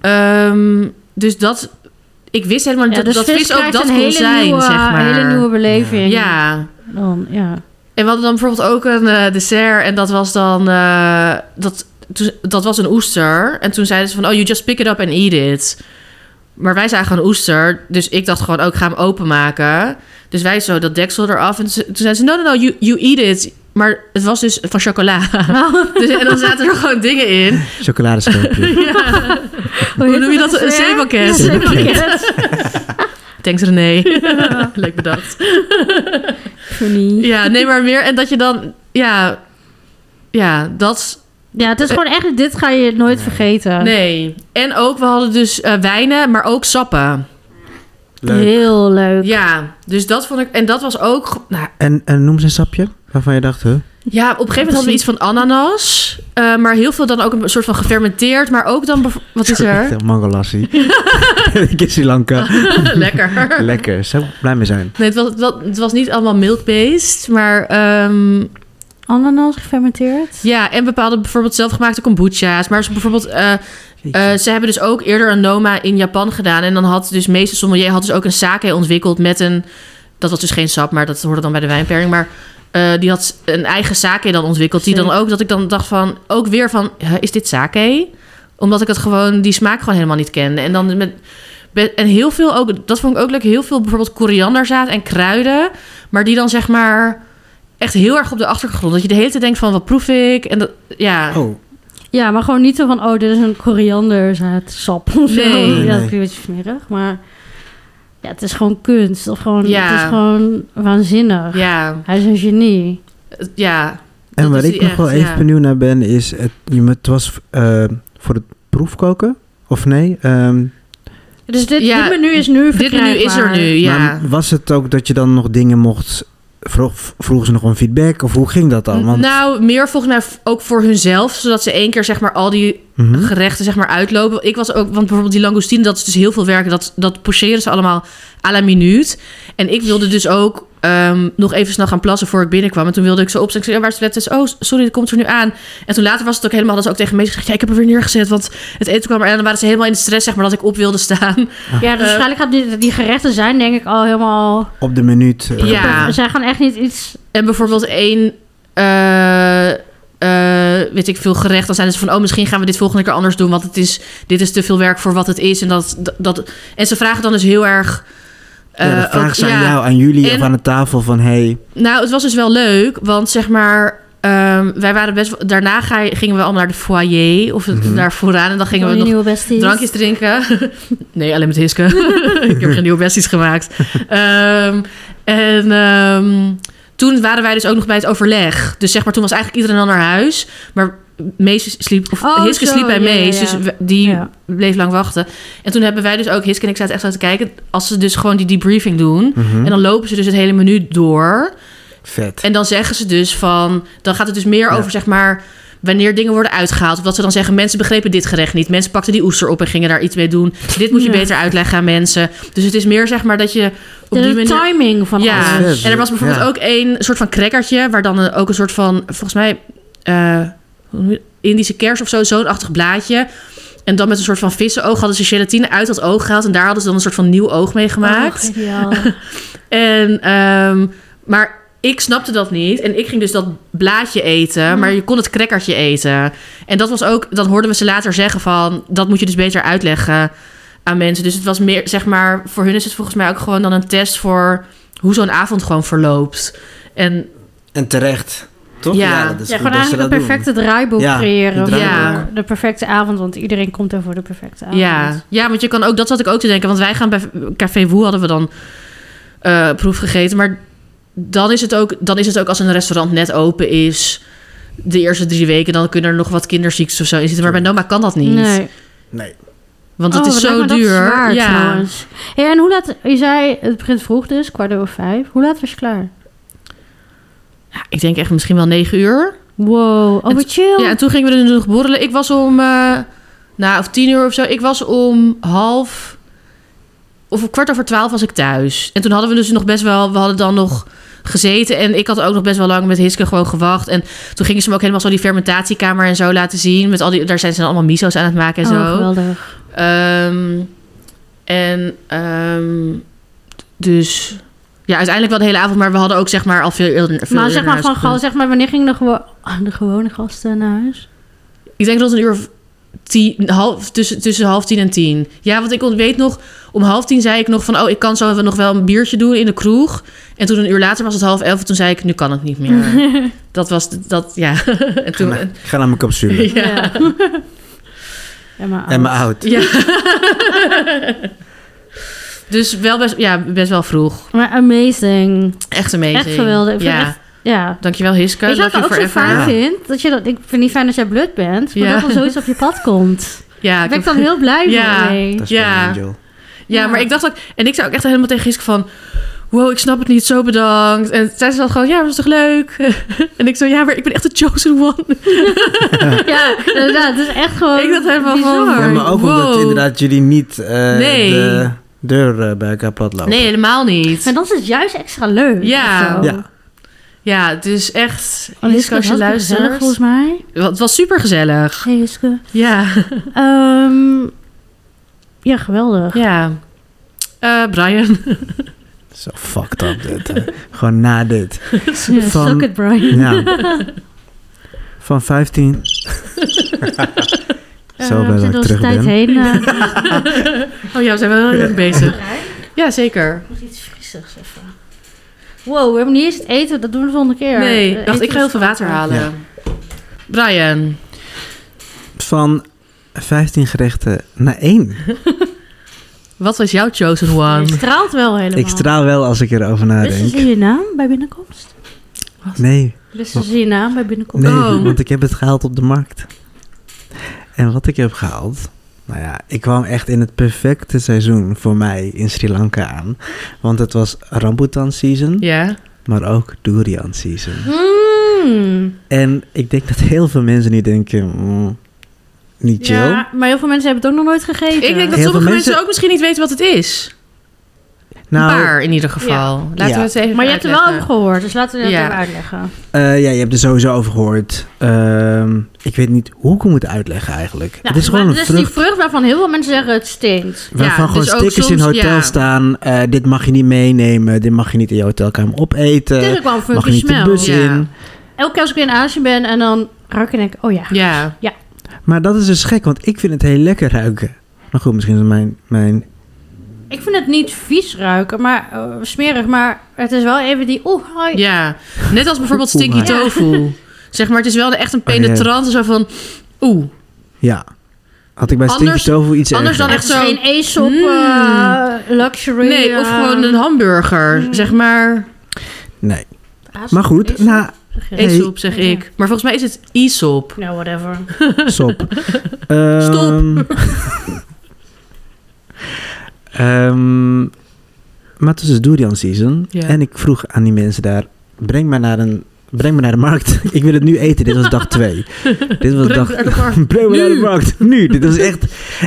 Speaker 2: Ehm, dus dat, ik wist helemaal niet
Speaker 3: Ja,
Speaker 2: dat,
Speaker 3: dus
Speaker 2: dat vis ook
Speaker 3: krijgt
Speaker 2: dat
Speaker 3: een
Speaker 2: kon
Speaker 3: hele
Speaker 2: zijn,
Speaker 3: nieuwe,
Speaker 2: zeg maar.
Speaker 3: Een hele nieuwe beleving.
Speaker 2: Ja. [laughs]
Speaker 3: Dan, ja.
Speaker 2: En we hadden dan bijvoorbeeld ook een eh, dessert en dat was dan, eh, dat, toen- dat was een oester. En toen zeiden ze van, oh, you just pick it up and eat it. Maar wij zagen een oester, dus ik dacht gewoon, oh, ik ga hem openmaken. Dus wij zo dat deksel eraf en ze- toen zeiden ze, no, no, no, you, you eat it. Maar het was dus van chocola. [laughs] Dus, en dan zaten er gewoon dingen in. [laughs]
Speaker 1: Chocoladeschermpje.
Speaker 3: Hoe,
Speaker 2: Hoe
Speaker 3: heet
Speaker 2: noem je dat? Een
Speaker 3: dessert?
Speaker 2: zeepakket.
Speaker 3: Ja, zeepakket.
Speaker 2: [laughs] Thanks René. Leuk bedacht.
Speaker 3: funny.
Speaker 2: [laughs] Ja, nee, maar meer. En dat je dan. Ja, ja dat.
Speaker 3: Ja, het is gewoon echt, dit ga je nooit
Speaker 1: Nee.
Speaker 3: vergeten.
Speaker 2: Nee. En ook, we hadden dus eh, wijnen, maar ook sappen.
Speaker 1: Leuk.
Speaker 3: Heel leuk.
Speaker 2: Ja, dus dat vond ik. En dat was ook. Nou,
Speaker 1: En, en noem ze een sapje waarvan je dacht, huh?
Speaker 2: ja, op een gegeven moment hadden we iets van ananas. eh, maar heel veel dan ook een soort van gefermenteerd. Maar ook dan. bev- Wat is er?
Speaker 1: Echt een
Speaker 2: [laughs]
Speaker 1: Mangalassi. [laughs] Ik in Sri Lanka.
Speaker 2: Lekker. [laughs]
Speaker 1: Lekker, zou ik blij mee zijn.
Speaker 2: Nee, het was, het was- het was niet allemaal milk-based, maar ehm,
Speaker 3: Ananas gefermenteerd.
Speaker 2: ja, en bepaalde bijvoorbeeld zelfgemaakte kombucha's. Maar ze, bijvoorbeeld, eh, eh, ze hebben dus ook eerder een Noma in Japan gedaan. En dan had dus meester sommelier had dus ook een sake ontwikkeld met een... Dat was dus geen sap, maar dat hoorde dan bij de wijnpairing. Maar eh, die had een eigen sake dan ontwikkeld. Die dan
Speaker 3: Zeker.
Speaker 2: ook, dat ik dan dacht van, ook weer van, huh, is dit sake? Omdat ik het gewoon, die smaak gewoon helemaal niet kende. En dan met... be- En heel veel ook, dat vond ik ook leuk, heel veel bijvoorbeeld korianderzaad en kruiden. Maar die dan zeg maar echt heel erg op de achtergrond. Dat je de hele tijd denkt van, wat proef ik? En dat, ja.
Speaker 1: Oh,
Speaker 3: Ja, maar gewoon niet zo van, oh, dit is een korianderzaadsap [laughs] of zo.
Speaker 2: Nee. Nee,
Speaker 3: Ja, dat
Speaker 1: nee.
Speaker 3: klinkt een beetje smerig, maar... Ja, het is gewoon kunst. Of gewoon,
Speaker 2: Ja.
Speaker 3: het is gewoon waanzinnig.
Speaker 2: Ja,
Speaker 3: Hij is een genie.
Speaker 2: het- ja. Dat
Speaker 1: en waar
Speaker 2: is
Speaker 1: ik
Speaker 2: die
Speaker 1: nog
Speaker 2: echt,
Speaker 1: wel even
Speaker 2: ja.
Speaker 1: benieuwd naar ben, is... Het, je moet- het was eh, voor het proefkoken, of nee? Ehm,
Speaker 3: Dus dit,
Speaker 2: Ja,
Speaker 3: dit menu is nu
Speaker 2: Dit menu is er
Speaker 3: verkrijgbaar.
Speaker 2: nu, ja.
Speaker 1: Maar was het ook dat je dan nog dingen mocht... Vroeg, vroegen ze nog om feedback, of hoe ging dat dan? Want,
Speaker 2: Nou, meer volgens mij v- ook voor hunzelf. Zodat ze één keer zeg maar al die
Speaker 1: Mhm.
Speaker 2: gerechten zeg maar uitlopen. Ik was ook, want bijvoorbeeld die langoustine, dat is dus heel veel werk. Dat, dat pocheren ze allemaal à la minuut. En ik wilde dus ook ehm, nog even snel gaan plassen voor ik binnenkwam. En toen wilde ik zo opstaan. Ik zei, ja, waar is de letters? Oh, sorry, dat komt er nu aan. En toen later was het ook helemaal, dat ze ook tegen me gezegd, ja, ik heb er weer neergezet. Want het eten kwam er aan. En dan waren ze helemaal in de stress, zeg maar, dat ik op wilde staan.
Speaker 3: Ja, dus
Speaker 2: Eh.
Speaker 3: waarschijnlijk gaat die, die gerechten zijn denk ik al helemaal...
Speaker 1: Op de minuut. eh,
Speaker 2: Ja.
Speaker 3: Zij gaan echt niet iets...
Speaker 2: En bijvoorbeeld één, eh, eh, weet ik veel, gerecht. Dan zijn ze van, oh, misschien gaan we dit volgende keer anders doen. Want het is, dit is te veel werk voor wat het is. En, dat, dat, en ze vragen dan dus heel erg... eh,
Speaker 1: ja, de vraag
Speaker 2: ook-
Speaker 1: is aan
Speaker 2: ja.
Speaker 1: jou, aan jullie
Speaker 2: En-
Speaker 1: of aan de tafel van... Hey,
Speaker 2: Nou, het was dus wel leuk. Want zeg maar... ehm, wij waren best wel- daarna ga, je- gingen we allemaal naar de foyer of
Speaker 1: Mhm.
Speaker 2: daar vooraan en dan gingen we nog
Speaker 3: nieuwe besties.
Speaker 2: drankjes drinken. [laughs] nee, alleen met Hiske. [laughs] ik heb geen nieuwe besties gemaakt. Ehm, en ehm, toen waren wij dus ook nog bij het overleg. Dus zeg maar, toen was eigenlijk iedereen al naar huis. Maar Mees sliep, of
Speaker 3: Oh,
Speaker 2: Hiske
Speaker 3: zo,
Speaker 2: sliep bij
Speaker 3: ja, ja,
Speaker 2: Mees.
Speaker 3: ja.
Speaker 2: Dus we- die
Speaker 3: Ja.
Speaker 2: bleef lang wachten. En toen hebben wij dus ook, Hiske en ik zaten echt aan te kijken... als ze dus gewoon die debriefing doen...
Speaker 1: mhm,
Speaker 2: en dan lopen ze dus het hele menu door...
Speaker 1: vet.
Speaker 2: En dan zeggen ze dus van... Dan gaat het dus meer
Speaker 1: Ja.
Speaker 2: over, zeg maar... Wanneer dingen worden uitgehaald. Of dat ze dan zeggen... Mensen begrepen dit gerecht niet. Mensen pakten die oester op en gingen daar iets mee doen. Dit moet je
Speaker 3: Ja.
Speaker 2: beter uitleggen aan mensen. Dus het is meer, zeg maar, dat je op
Speaker 3: De
Speaker 2: die manier...
Speaker 3: timing van
Speaker 2: Ja,
Speaker 1: alles.
Speaker 2: en er was bijvoorbeeld
Speaker 1: Ja.
Speaker 2: ook een soort van crackertje... waar dan eh, ook een soort van, volgens mij... eh, hoe noem je- Indische kers of zo, zo'n achtig blaadje. En dan met een soort van vissenoog hadden ze gelatine uit dat oog gehaald. En daar hadden ze dan een soort van nieuw oog mee gemaakt.
Speaker 3: Oh, geniaal.
Speaker 2: En, ehm, maar ik snapte dat niet. En ik ging dus dat blaadje eten. Maar je kon het crackertje eten. En dat was ook... Dat hoorden we ze later zeggen van... Dat moet je dus beter uitleggen aan mensen. Dus het was meer, zeg maar... Voor hun is het volgens mij ook gewoon dan een test voor... Hoe zo'n avond gewoon verloopt. En
Speaker 1: En terecht, toch?
Speaker 2: Ja.
Speaker 1: is
Speaker 3: ja,
Speaker 1: goed
Speaker 3: gewoon
Speaker 1: dat ze
Speaker 3: eigenlijk
Speaker 1: dat
Speaker 3: een
Speaker 1: doen.
Speaker 3: perfecte draaiboek
Speaker 1: Ja,
Speaker 3: creëren.
Speaker 1: een
Speaker 3: voor
Speaker 2: draaiboek.
Speaker 3: De perfecte avond, want iedereen komt er voor de perfecte avond.
Speaker 2: Ja, ja, want je kan ook, dat zat ik ook te denken. Want wij gaan bij Café Woe hadden we dan eh, proef gegeten. Maar dan is, het ook, dan is het ook als een restaurant net open is, de eerste drie weken, dan kunnen er nog wat kinderziektes of zo in zitten. Maar bij Noma kan dat niet.
Speaker 3: Nee.
Speaker 1: Nee.
Speaker 2: Want het
Speaker 3: Oh,
Speaker 2: is
Speaker 3: wat
Speaker 2: zo
Speaker 3: lijkt me dat
Speaker 2: duur.
Speaker 3: zwaar,
Speaker 2: ja.
Speaker 3: trouwens. Hey, en hoe laat... Je zei, het begint vroeg dus, kwart over vijf. Hoe laat was je klaar?
Speaker 2: Ja, Nou, ik denk echt misschien wel negen uur.
Speaker 3: Wow, oh
Speaker 2: En-
Speaker 3: wat chill.
Speaker 2: Ja, en toen gingen we er nog borrelen. Ik was om, eh nou, of tien uur of zo. Ik was om half, of om kwart over twaalf was ik thuis. En toen hadden we dus nog best wel, we hadden dan nog gezeten. En ik had ook nog best wel lang met Hiske gewoon gewacht. En toen gingen ze me ook helemaal zo die fermentatiekamer en zo laten zien. Met al die, daar zijn ze dan allemaal miso's aan het maken en
Speaker 3: Oh,
Speaker 2: zo.
Speaker 3: geweldig.
Speaker 2: Ehm, en ehm, dus ja, uiteindelijk wel de hele avond, maar we hadden ook zeg maar al veel eerder. veel
Speaker 3: maar
Speaker 2: eerder
Speaker 3: zeg
Speaker 2: naar
Speaker 3: maar,
Speaker 2: huis
Speaker 3: van,
Speaker 2: gekund.
Speaker 3: gewoon, zeg maar, wanneer gingen de, gewo- oh, de gewone gasten naar huis?
Speaker 2: Ik denk dat het een uur of tien, half, tussen, tussen half tien en tien. Ja, want ik weet nog, om half tien zei ik nog van... oh, ik kan zo nog wel een biertje doen in de kroeg. En toen een uur later was het half elf. En toen zei ik, nu kan het niet
Speaker 3: [laughs]
Speaker 2: meer. dat was, dat, ja. [laughs] en toen... eh,
Speaker 1: Ik ga naar mijn capsule.
Speaker 2: [laughs] Ja.
Speaker 3: En maar
Speaker 1: En mijn oud.
Speaker 2: Ja. [laughs] Dus wel best, ja, best wel vroeg.
Speaker 3: Maar amazing.
Speaker 2: Echt amazing.
Speaker 3: Echt geweldig. Ik vind
Speaker 2: ja.
Speaker 3: echt- Ja.
Speaker 2: Dankjewel Hiske.
Speaker 3: Weet je wat
Speaker 2: Love
Speaker 3: ik
Speaker 2: you
Speaker 3: ook zo
Speaker 2: forever.
Speaker 3: fijn
Speaker 1: Ja.
Speaker 3: vind? Dat je dat, ik vind het niet fijn als jij blut bent, maar
Speaker 2: Ja.
Speaker 3: dat er zoiets op je pad
Speaker 2: [laughs]
Speaker 3: komt.
Speaker 2: Ja,
Speaker 3: Daar
Speaker 2: ik
Speaker 3: ben
Speaker 2: heb-
Speaker 3: ik dan heel blij
Speaker 2: Ja.
Speaker 3: mee.
Speaker 1: Dat is
Speaker 2: Ja.
Speaker 1: ja. Angel.
Speaker 2: ja,
Speaker 3: Ja.
Speaker 2: maar ik dacht ook... En ik zei ook echt helemaal tegen Hiske van... Wow, ik snap het niet. Zo bedankt. En zij zei gewoon... Ja, dat was toch leuk? [laughs] en ik zo... Ja, maar ik ben echt de chosen one.
Speaker 3: Ja, inderdaad. Het is echt gewoon
Speaker 2: Ik dacht helemaal
Speaker 3: bizar.
Speaker 2: van-
Speaker 1: Ja, maar ook omdat
Speaker 2: Wow.
Speaker 1: inderdaad jullie niet eh,
Speaker 2: Nee.
Speaker 1: de deur eh, bij elkaar plat lopen.
Speaker 2: Nee, helemaal niet.
Speaker 3: Maar dan is het juist extra leuk.
Speaker 2: Ja.
Speaker 3: of zo.
Speaker 1: Ja.
Speaker 2: Ja, het is echt...
Speaker 3: Oh,
Speaker 2: Hiske, als je
Speaker 3: was gezellig,
Speaker 2: luistert...
Speaker 3: volgens mij.
Speaker 2: Wel, Het was super gezellig.
Speaker 3: Hey, Hiske.
Speaker 2: Ja.
Speaker 3: Ehm, ja,
Speaker 2: [laughs]
Speaker 3: geweldig.
Speaker 2: Ja. Eh, Brian.
Speaker 1: Zo fucked up dit. hè. Gewoon na dit.
Speaker 3: Ja,
Speaker 1: Van-
Speaker 3: suck it, Brian. [laughs]
Speaker 1: Ja. Van 15. Zo
Speaker 3: Eh, we
Speaker 1: blij dat
Speaker 3: zitten
Speaker 1: ik
Speaker 3: onze
Speaker 1: terug
Speaker 3: tijd
Speaker 1: ben.
Speaker 3: heen.
Speaker 2: [laughs]
Speaker 3: eh,
Speaker 2: Oh ja, we zijn wel heel erg bezig. Ja, zeker.
Speaker 3: moet iets frissigs even. Wow, we hebben niet eens het eten. Dat doen we de volgende keer.
Speaker 2: Nee,
Speaker 3: Eh,
Speaker 2: ik dacht,
Speaker 3: eten
Speaker 2: ik ga heel
Speaker 3: is-
Speaker 2: veel water halen.
Speaker 1: Ja.
Speaker 2: Brian.
Speaker 1: Van 15 gerechten naar 1.
Speaker 2: Wat was jouw chosen one?
Speaker 3: Je straalt wel helemaal.
Speaker 1: Ik straal wel als ik erover
Speaker 3: Wisten
Speaker 1: nadenk.
Speaker 3: ze je naam bij binnenkomst?
Speaker 1: Nee,
Speaker 3: Wisten ze je naam bij binnenkomst?
Speaker 1: nee
Speaker 2: Oh.
Speaker 1: want ik heb het gehaald op de markt. En wat ik heb gehaald... Nou ja, ik kwam echt in het perfecte seizoen voor mij in Sri Lanka aan. Want het was rambutan season,
Speaker 2: Ja.
Speaker 1: maar ook durian season.
Speaker 3: Mm.
Speaker 1: En ik denk dat heel veel mensen nu denken... mm, niet chill.
Speaker 3: Ja, maar heel veel mensen hebben het ook nog nooit gegeten.
Speaker 2: Ik denk dat
Speaker 1: veel
Speaker 2: sommige mensen...
Speaker 1: mensen
Speaker 2: ook misschien niet weten wat het is.
Speaker 1: nou,
Speaker 2: een paar in ieder geval. Laten
Speaker 1: Ja.
Speaker 2: we het even
Speaker 3: Maar je hebt er wel over
Speaker 2: uitleggen.
Speaker 3: gehoord, dus laten we dat
Speaker 2: Ja.
Speaker 3: even uitleggen.
Speaker 1: Eh, ja, je hebt er sowieso over gehoord. Ehm, ik weet niet hoe ik hem moet uitleggen eigenlijk.
Speaker 3: Ja,
Speaker 1: het is gewoon
Speaker 3: Nou, maar
Speaker 1: een
Speaker 3: het is die
Speaker 1: vrucht
Speaker 3: vrucht waarvan heel veel mensen zeggen het stinkt.
Speaker 1: waarvan
Speaker 2: ja,
Speaker 1: gewoon
Speaker 2: dus ook
Speaker 1: stickers in
Speaker 2: soms-
Speaker 1: hotel
Speaker 2: ja.
Speaker 1: staan. eh, dit mag je niet meenemen. Dit mag je niet in je hotelkamer
Speaker 3: Het is
Speaker 1: opeten.
Speaker 3: ook wel een
Speaker 1: Eh, Mag je
Speaker 3: funky
Speaker 1: niet de
Speaker 3: smell.
Speaker 1: bus
Speaker 2: Ja.
Speaker 1: in.
Speaker 3: Elke keer als ik in Azië ben en dan ruik ik en denk ik, oh ja.
Speaker 2: Ja.
Speaker 1: Maar dat is dus gek, want ik vind het heel lekker ruiken. Maar goed, misschien is het mijn... mijn
Speaker 3: Ik vind het niet vies ruiken, maar eh, smerig. Maar het is wel even die, oh, oeh, hoi.
Speaker 2: ja. Net als bijvoorbeeld
Speaker 1: Oeh,
Speaker 2: stinky
Speaker 1: maar-
Speaker 3: [laughs]
Speaker 2: tofu. Zeg maar, het is wel echt een
Speaker 1: Oh, ja.
Speaker 2: penetrante zo van... Oeh.
Speaker 1: ja. Had ik bij
Speaker 2: Anders-
Speaker 1: stinky tofu iets
Speaker 2: anders dan
Speaker 1: erger.
Speaker 2: echt
Speaker 3: Echt
Speaker 2: zo-
Speaker 3: geen Aesop
Speaker 2: Mm.
Speaker 3: eh, luxury.
Speaker 2: Nee, of
Speaker 3: eh,
Speaker 2: gewoon een hamburger.
Speaker 3: Mm.
Speaker 2: Zeg maar...
Speaker 1: Nee.
Speaker 3: Aesop,
Speaker 1: Maar goed, nou- na
Speaker 3: Aesop, zeg je.
Speaker 1: Nee.
Speaker 2: Aesop, zeg ik. Maar volgens mij is het Aesop.
Speaker 3: Nou, whatever.
Speaker 2: [laughs]
Speaker 1: Sop.
Speaker 2: Stop.
Speaker 1: Ehm, [laughs] ehm, maar het was dus durian season.
Speaker 2: Ja.
Speaker 1: En ik vroeg aan die mensen daar... Breng mij naar, een, breng mij naar de markt. [laughs] ik wil het nu eten. Dit was dag
Speaker 2: [laughs]
Speaker 1: 2. Dit was
Speaker 2: Breng
Speaker 1: dag...
Speaker 2: me naar de
Speaker 1: [laughs]
Speaker 2: markt.
Speaker 1: breng me naar de
Speaker 2: Nu.
Speaker 1: markt. [laughs] Nu. Dit was echt...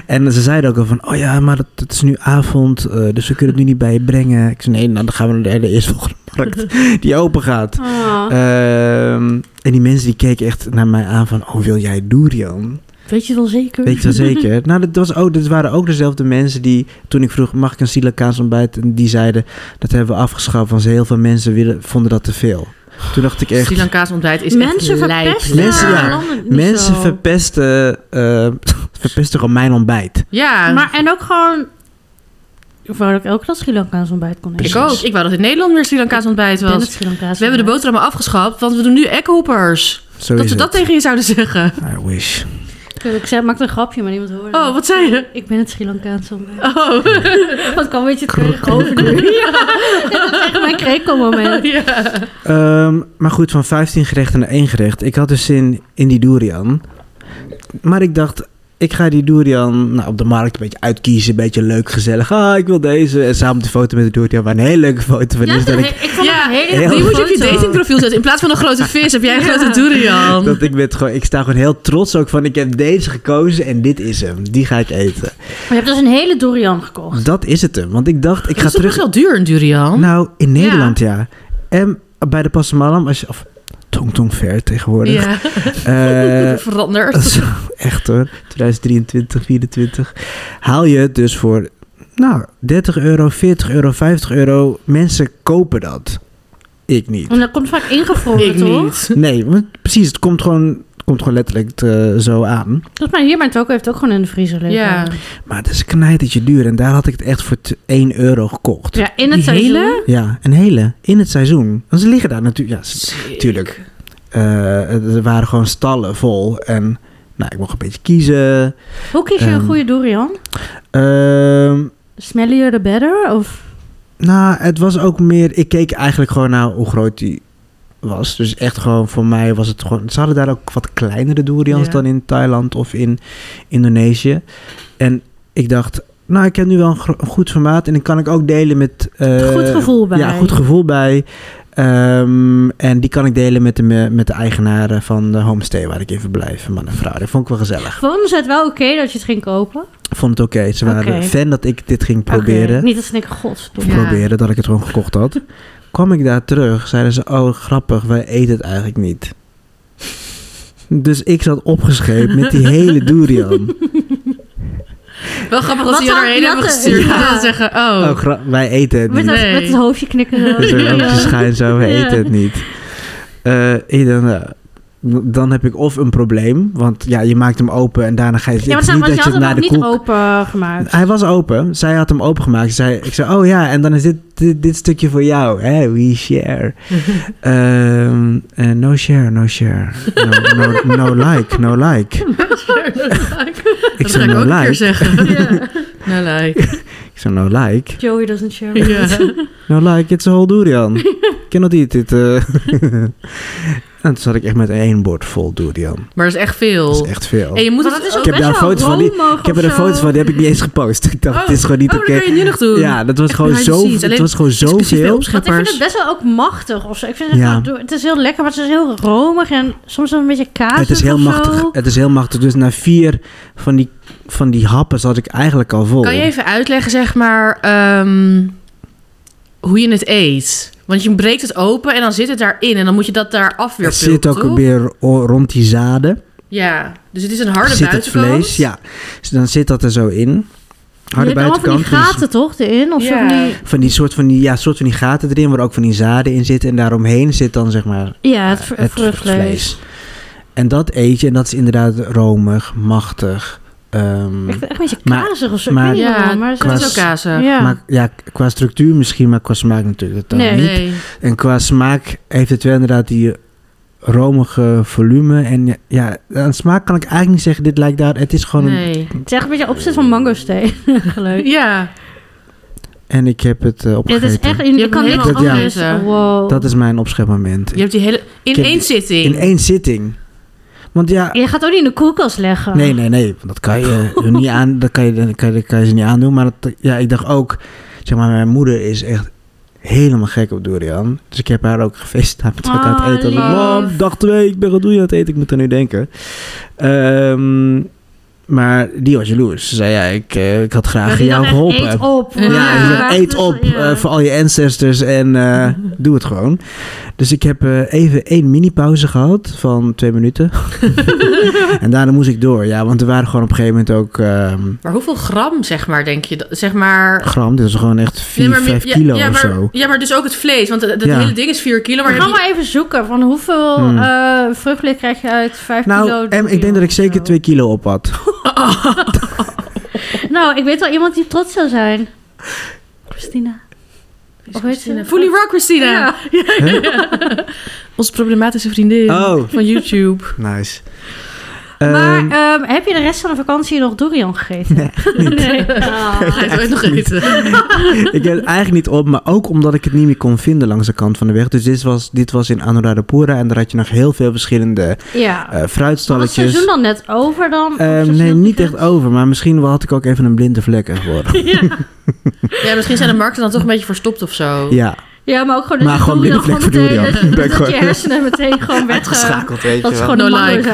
Speaker 1: En ze zeiden ook al van... Oh ja, maar het, het is nu avond. eh, dus we kunnen het nu niet bij je brengen. Ik zei nee, nou, dan gaan we naar de eerstvolgende
Speaker 3: [laughs]
Speaker 1: markt. Die open gaat.
Speaker 3: Ah.
Speaker 1: Ehm, en die mensen die keken echt naar mij aan van... Oh, wil jij durian?
Speaker 3: Weet je wel zeker?
Speaker 1: Weet je wel zeker?
Speaker 3: [laughs]
Speaker 1: nou, dat, was ook, dat waren ook dezelfde mensen die toen ik vroeg: mag ik een Silicaans ontbijt? En die zeiden dat hebben we afgeschaft, want ze- heel veel mensen willen, vonden dat te veel. Toen dacht ik echt:
Speaker 2: Sri Lanka's ontbijt is
Speaker 3: mensen
Speaker 2: echt lijp.
Speaker 3: verpesten.
Speaker 1: Mensen, ja.
Speaker 3: landen niet
Speaker 1: mensen
Speaker 3: zo.
Speaker 1: verpesten, eh, [laughs] verpesten gewoon mijn ontbijt.
Speaker 2: Ja.
Speaker 3: Maar en ook gewoon... Ik wou dat ik elke dag Sri Lankaans ontbijt kon eten.
Speaker 2: ik ook. Ik wou dat in Nederland weer Sri Lanka's ontbijt
Speaker 3: Ik ben het
Speaker 2: was.
Speaker 3: Sri Lankaans
Speaker 2: We hebben de
Speaker 3: ontbijt.
Speaker 2: boterhammen afgeschaft, want we doen nu egghoppers.
Speaker 1: Zo
Speaker 2: dat
Speaker 1: is
Speaker 2: ze dat
Speaker 1: het.
Speaker 2: tegen je zouden zeggen.
Speaker 1: I wish.
Speaker 3: Ik zei, maakte een grapje, maar niemand hoorde.
Speaker 2: Oh, wat zei je?
Speaker 3: Ik ben het Sri Lankaanse ontbijt.
Speaker 2: Oh.
Speaker 3: Dat kwam een beetje terug over de
Speaker 2: [laughs]
Speaker 3: Dat was echt mijn krekelmoment.
Speaker 2: Oh, ja.
Speaker 1: Ehm, maar goed, van 15 gerechten naar één gerecht. Ik had dus zin in die durian. Maar ik dacht, ik ga die durian nou, op de markt een beetje uitkiezen. Een beetje leuk, gezellig. Ah, ik wil deze. En samen de foto met de durian. Waar een hele leuke foto van
Speaker 3: Ja,
Speaker 1: is. Dat ik,
Speaker 3: ik vond
Speaker 2: Ja,
Speaker 3: het een hele
Speaker 1: die
Speaker 2: Die moet
Speaker 3: goede
Speaker 2: je op je
Speaker 3: foto.
Speaker 2: datingprofiel zetten. In plaats van een grote vis heb jij een grote durian.
Speaker 1: dat ik, met gewoon, ik sta gewoon heel trots ook van, ik heb deze gekozen en dit is hem. Die ga ik eten.
Speaker 3: Maar je hebt dus een hele durian gekocht.
Speaker 1: Dat is het hem. Want ik dacht, ik
Speaker 2: Het
Speaker 1: ga
Speaker 2: is toch best
Speaker 1: terug...
Speaker 2: wel duur, een durian?
Speaker 1: Nou, in Nederland ja. En bij de Passamalam, als je... Of, tong tong ver tegenwoordig.
Speaker 2: ja, [laughs]
Speaker 1: Eh, [laughs]
Speaker 2: veranderd.
Speaker 1: Dat is echt hoor, 2023, 2024. Haal je het dus voor, nou, 30 euro, 40 euro, 50 euro. Mensen kopen dat. Ik niet.
Speaker 3: En dat komt vaak ingevroren,
Speaker 2: Ik
Speaker 3: toch?
Speaker 2: niet.
Speaker 1: Nee, want precies, het komt gewoon, het komt gewoon letterlijk eh, zo aan.
Speaker 3: Volgens mij hier, mijn toko heeft ook gewoon in de vriezer liggen.
Speaker 2: Ja.
Speaker 1: Maar het is knijtertje duur en daar had ik het echt voor t- 1 euro gekocht.
Speaker 3: Ja, in het
Speaker 2: Die hele?
Speaker 3: seizoen.
Speaker 1: Ja, een hele, in het seizoen. Want ze liggen daar natuurlijk, ja, ze- Tuurlijk. eh, er waren gewoon stallen vol. En nou, ik mocht een beetje kiezen.
Speaker 3: Hoe kies je een
Speaker 1: Ehm,
Speaker 3: goede durian?
Speaker 1: Ehm,
Speaker 3: smellier the better? Of
Speaker 1: Nou, het was ook meer... Ik keek eigenlijk gewoon naar hoe groot die was. Dus echt gewoon voor mij was het gewoon... Ze hadden daar ook wat kleinere durians
Speaker 2: Ja.
Speaker 1: dan in Thailand of in Indonesië. En ik dacht... Nou, ik heb nu wel een, gro- een goed formaat. En dan kan ik ook delen met... eh,
Speaker 3: goed gevoel bij?
Speaker 1: Ja, goed gevoel bij. Ehm, en die kan ik delen met de, me- met de eigenaren van de homestay waar ik in verblijf. Een Man en vrouw. Dat vond ik wel gezellig.
Speaker 3: Vonden ze het wel oké dat je het ging kopen?
Speaker 1: Vond het oké. Ze waren
Speaker 3: Oké.
Speaker 1: fan dat ik dit ging proberen.
Speaker 3: Oké, Niet dat ze denken, godverdomme.
Speaker 2: Ja.
Speaker 1: Proberen dat ik het gewoon gekocht had. Kwam ik daar terug, zeiden ze, oh grappig, wij eten het eigenlijk niet. Dus ik zat opgescheept met die hele
Speaker 3: [laughs]
Speaker 1: durian.
Speaker 2: Wel grappig als
Speaker 3: Wat
Speaker 2: die je
Speaker 3: dan?
Speaker 2: erheen
Speaker 3: Ja,
Speaker 2: hebben
Speaker 3: dat-
Speaker 2: gestuurd.
Speaker 3: ja.
Speaker 2: En dan zeggen, oh,
Speaker 1: Oh, gra- wij eten het
Speaker 3: Met,
Speaker 1: niet.
Speaker 3: dat,
Speaker 2: Nee.
Speaker 3: met het hoofdje knikken.
Speaker 1: [laughs]
Speaker 3: zo.
Speaker 1: Dus een
Speaker 3: Ja.
Speaker 1: oogje schijn zo, we
Speaker 3: Ja.
Speaker 1: eten het niet. Eh, ik dacht, nou, dan heb ik of een probleem, want ja, je maakt hem open en daarna ga je...
Speaker 3: Ja,
Speaker 1: het
Speaker 3: maar
Speaker 1: is
Speaker 3: ze-
Speaker 1: niet
Speaker 3: want je
Speaker 1: dat je
Speaker 3: had
Speaker 1: het
Speaker 3: hem
Speaker 1: naar
Speaker 3: nog
Speaker 1: de
Speaker 3: niet
Speaker 1: koel
Speaker 3: open gemaakt.
Speaker 1: Hij was open. Zij had hem opengemaakt. Zij, ik zei, oh ja, en dan is dit, dit, dit stukje voor jou. Hè? We
Speaker 2: [laughs]
Speaker 1: share. Ehm, eh, no share, no share. No, no, no like, no
Speaker 2: [laughs]
Speaker 1: like. [laughs] Ik
Speaker 2: dat
Speaker 1: zei,
Speaker 2: ga
Speaker 1: no
Speaker 2: ik ook een keer
Speaker 1: like.
Speaker 2: zeggen. [laughs] Nou, like.
Speaker 1: Ik zei, no like.
Speaker 3: Joey doesn't share.
Speaker 2: Ja.
Speaker 1: No like, it's a whole durian.
Speaker 2: [laughs]
Speaker 1: Cannot eat it. eh. [laughs] en toen zat ik echt met één bord vol durian.
Speaker 2: Maar dat is echt
Speaker 1: Dat
Speaker 2: veel.
Speaker 1: is echt veel.
Speaker 2: En je moet
Speaker 3: Maar
Speaker 2: het...
Speaker 3: dat is
Speaker 1: Ik
Speaker 3: ook
Speaker 1: heb
Speaker 3: best
Speaker 1: daar
Speaker 3: wel
Speaker 1: foto's van die-
Speaker 3: romig
Speaker 1: Ik heb
Speaker 3: of
Speaker 1: er een
Speaker 3: zo.
Speaker 1: foto's van, die heb ik niet eens gepost. Ik dacht,
Speaker 2: Oh.
Speaker 1: het is gewoon niet
Speaker 2: Oh, dat
Speaker 1: oké.
Speaker 2: kan je nu nog doen.
Speaker 1: Ja, dat was gewoon
Speaker 2: behind the
Speaker 1: zo.
Speaker 2: scenes.
Speaker 1: Het
Speaker 2: Alleen
Speaker 1: was gewoon
Speaker 2: exclusief bij
Speaker 1: zoveel.
Speaker 3: Want ik vind
Speaker 2: opscheppers.
Speaker 3: het best wel ook machtig of zo. Ik vind het,
Speaker 1: Ja.
Speaker 3: wel do- het is heel lekker, maar het is heel romig en soms een beetje kaas.
Speaker 1: Het is heel
Speaker 3: of zo.
Speaker 1: machtig. Het is heel machtig. Dus na vier van die, van die happen zat ik eigenlijk al vol.
Speaker 2: Kan je even uitleggen, zeg maar, ehm, hoe je het eet? Want je breekt het open en dan zit het daarin. En dan moet je dat daar af weer
Speaker 1: het zit
Speaker 2: pulpen,
Speaker 1: ook
Speaker 2: toch?
Speaker 1: weer ro- rond die zaden.
Speaker 2: Ja, dus het is een harde
Speaker 1: zit het
Speaker 2: buitenkant.
Speaker 1: vlees. Ja, dus dan zit dat er zo in.
Speaker 3: Je
Speaker 1: Harde
Speaker 3: hebt allemaal van die
Speaker 1: buitenkant. dus
Speaker 3: gaten toch erin? Of zo
Speaker 2: Ja.
Speaker 3: van die-
Speaker 1: van die soort van die, ja, soort van die gaten erin, waar ook van die zaden in zitten. En daaromheen zit dan zeg maar
Speaker 3: ja, het, vr-
Speaker 1: het
Speaker 3: vruchtvlees.
Speaker 1: vlees. En dat eet je. En dat is inderdaad romig, machtig. ehm,
Speaker 3: Ik vind het echt een beetje
Speaker 1: Maar-
Speaker 3: kazig of zo.
Speaker 1: maar-
Speaker 3: ik weet niet
Speaker 2: Ja,
Speaker 3: waarom, maar het is
Speaker 2: Dat
Speaker 1: Qua
Speaker 2: is ook kaas. hè?
Speaker 3: ja.
Speaker 1: maar, ja, qua structuur misschien, maar qua smaak natuurlijk totaal
Speaker 3: Nee.
Speaker 1: niet.
Speaker 2: Nee.
Speaker 1: En qua smaak heeft het wel inderdaad die romige volume. En ja, ja, aan smaak kan ik eigenlijk niet zeggen, dit lijkt daar... Het is gewoon... een-
Speaker 2: nee.
Speaker 3: het is echt een beetje opzet van mango [laughs] thee. Eigenlijk.
Speaker 2: Ja,
Speaker 1: en ik heb het eh,
Speaker 3: Ja, het
Speaker 1: opgegeten.
Speaker 3: is echt...
Speaker 2: Je
Speaker 3: Je
Speaker 2: hebt
Speaker 3: kan
Speaker 2: hem
Speaker 3: niks
Speaker 1: helemaal
Speaker 3: anders.
Speaker 2: opgegeten.
Speaker 3: Wow.
Speaker 1: Dat is mijn opschepmoment.
Speaker 2: je hebt die hele... In
Speaker 1: Ik heb
Speaker 2: één
Speaker 1: die-
Speaker 2: zitting.
Speaker 1: In één zitting. Want ja...
Speaker 3: Je gaat ook niet in de koelkast leggen.
Speaker 1: Nee, nee, nee. want Dat kan je,
Speaker 3: [laughs]
Speaker 1: hun niet aan, dat kan je, dat kan je, dat kan je ze niet aandoen. Maar dat, ja, ik dacht ook... Zeg maar, mijn moeder is echt helemaal gek op durian. Dus ik heb haar ook gefeest toen ik aan
Speaker 3: Ah,
Speaker 1: het eten was.
Speaker 3: lief.
Speaker 1: Mam, dag twee, ik ben wat doe je aan het eten? Ik moet er nu denken. Ehm, maar die was jaloers. Ze zei, ja, ik, eh, ik had graag
Speaker 3: die
Speaker 1: jou
Speaker 3: dacht echt,
Speaker 1: geholpen.
Speaker 3: Eet op.
Speaker 2: Ja,
Speaker 1: Ja,
Speaker 2: die
Speaker 1: je
Speaker 2: dacht,
Speaker 1: eet op
Speaker 3: Ja.
Speaker 1: eh, voor al je ancestors en eh, doe het gewoon. Dus ik heb eh, even één mini-pauze gehad van twee minuten. en daarna moest ik door, ja, want er waren gewoon op een gegeven moment ook ehm,
Speaker 2: Maar hoeveel gram, zeg maar, denk je? dat- Zeg maar...
Speaker 1: gram. Dit was gewoon echt 4,
Speaker 2: Nee, maar-
Speaker 1: 5
Speaker 2: ja,
Speaker 1: kilo
Speaker 2: ja,
Speaker 1: of
Speaker 2: maar,
Speaker 1: zo.
Speaker 2: Ja, maar dus ook het vlees. Want het het
Speaker 1: Ja.
Speaker 2: hele ding is 4 kilo. Maar
Speaker 3: Maar
Speaker 2: heb
Speaker 3: ga
Speaker 2: je-
Speaker 3: maar even zoeken van hoeveel
Speaker 1: Hmm.
Speaker 3: eh, vruchtvlees krijg je uit 5 kilo.
Speaker 1: Nou, en ik denk dat ik zeker 2 kilo op had.
Speaker 3: Nou, ik weet wel iemand die trots zou zijn. Christina. Of weet ze?
Speaker 2: Fully rock, Christina.
Speaker 3: Ja.
Speaker 2: [laughs]
Speaker 1: Hè?
Speaker 2: Onze problematische vriendin
Speaker 1: Oh.
Speaker 2: van YouTube.
Speaker 1: Nice.
Speaker 3: Maar [laughs]
Speaker 1: Ehm,
Speaker 3: ehm, heb je de rest van de vakantie nog durian gegeten?
Speaker 1: Nee,
Speaker 3: nee. [laughs]
Speaker 2: Ga je het Oh, ooit nog
Speaker 1: Niet.
Speaker 2: eten?
Speaker 1: ik heb het eigenlijk niet op, maar ook omdat ik het niet meer kon vinden langs de kant van de weg. Dus dit was, dit was in Anuradhapura en daar had je nog heel veel verschillende
Speaker 3: Ja.
Speaker 1: eh
Speaker 3: Was het
Speaker 1: fruitstalletjes.
Speaker 3: seizoen dan net over dan? Of
Speaker 1: Ehm,
Speaker 3: seizoen
Speaker 1: nee, niet
Speaker 3: begint?
Speaker 1: echt over, maar misschien wel had ik ook even een blinde vlek er
Speaker 3: [laughs]
Speaker 1: geworden.
Speaker 2: Ja, misschien zijn de markten dan toch een beetje verstopt of zo. [laughs]
Speaker 1: ja,
Speaker 3: Ja, maar ook gewoon... dat
Speaker 1: Maar
Speaker 3: je
Speaker 1: gewoon
Speaker 3: durian
Speaker 1: binnenvlek
Speaker 3: gewoon
Speaker 1: voor [laughs]
Speaker 3: meteen-
Speaker 1: durian.
Speaker 3: Dat,
Speaker 1: Ben
Speaker 3: je- dat
Speaker 1: gewoon-
Speaker 3: je hersenen meteen gewoon weg... eh,
Speaker 1: weet
Speaker 3: Dat is gewoon
Speaker 2: No
Speaker 3: de mango
Speaker 2: like.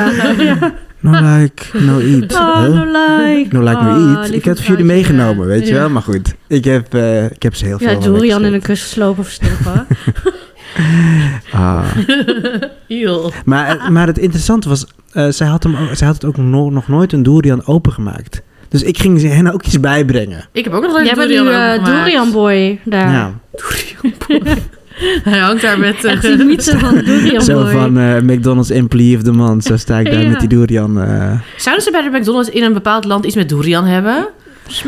Speaker 1: [laughs]
Speaker 3: zaden. Ja.
Speaker 1: No like, no eat.
Speaker 3: Oh,
Speaker 1: Huh?
Speaker 3: no like.
Speaker 1: No like,
Speaker 3: Oh,
Speaker 1: no eat. Ik
Speaker 3: lieve
Speaker 1: heb het voor jullie
Speaker 3: vrouwtje.
Speaker 1: meegenomen, weet je
Speaker 2: Ja.
Speaker 1: wel. Maar goed, ik heb, eh, ik heb ze heel veel
Speaker 3: Ja,
Speaker 1: wel
Speaker 3: durian in een
Speaker 1: weggezet.
Speaker 3: kussen slopen of
Speaker 1: [laughs]
Speaker 3: stoppen.
Speaker 1: Ah.
Speaker 2: Heel.
Speaker 3: [laughs]
Speaker 1: Maar, maar het interessante was, eh, zij, had hem, ook- zij had het ook no- nog nooit een durian opengemaakt. Dus ik ging ze hen ook iets bijbrengen.
Speaker 2: Ik heb ook nog nooit
Speaker 3: Jij bent nu
Speaker 2: durian
Speaker 3: eh,
Speaker 2: overgemaakt.
Speaker 3: durian boy daar.
Speaker 1: Ja,
Speaker 2: Hij hangt daar met... eh,
Speaker 3: Echt die mythe
Speaker 2: [laughs]
Speaker 3: van durian
Speaker 1: zo
Speaker 3: boy.
Speaker 1: van eh, McDonald's employee of the month. Zo sta ik daar
Speaker 3: Ja.
Speaker 1: met die durian. eh.
Speaker 2: Zouden ze bij de McDonald's in een bepaald land iets met durian hebben?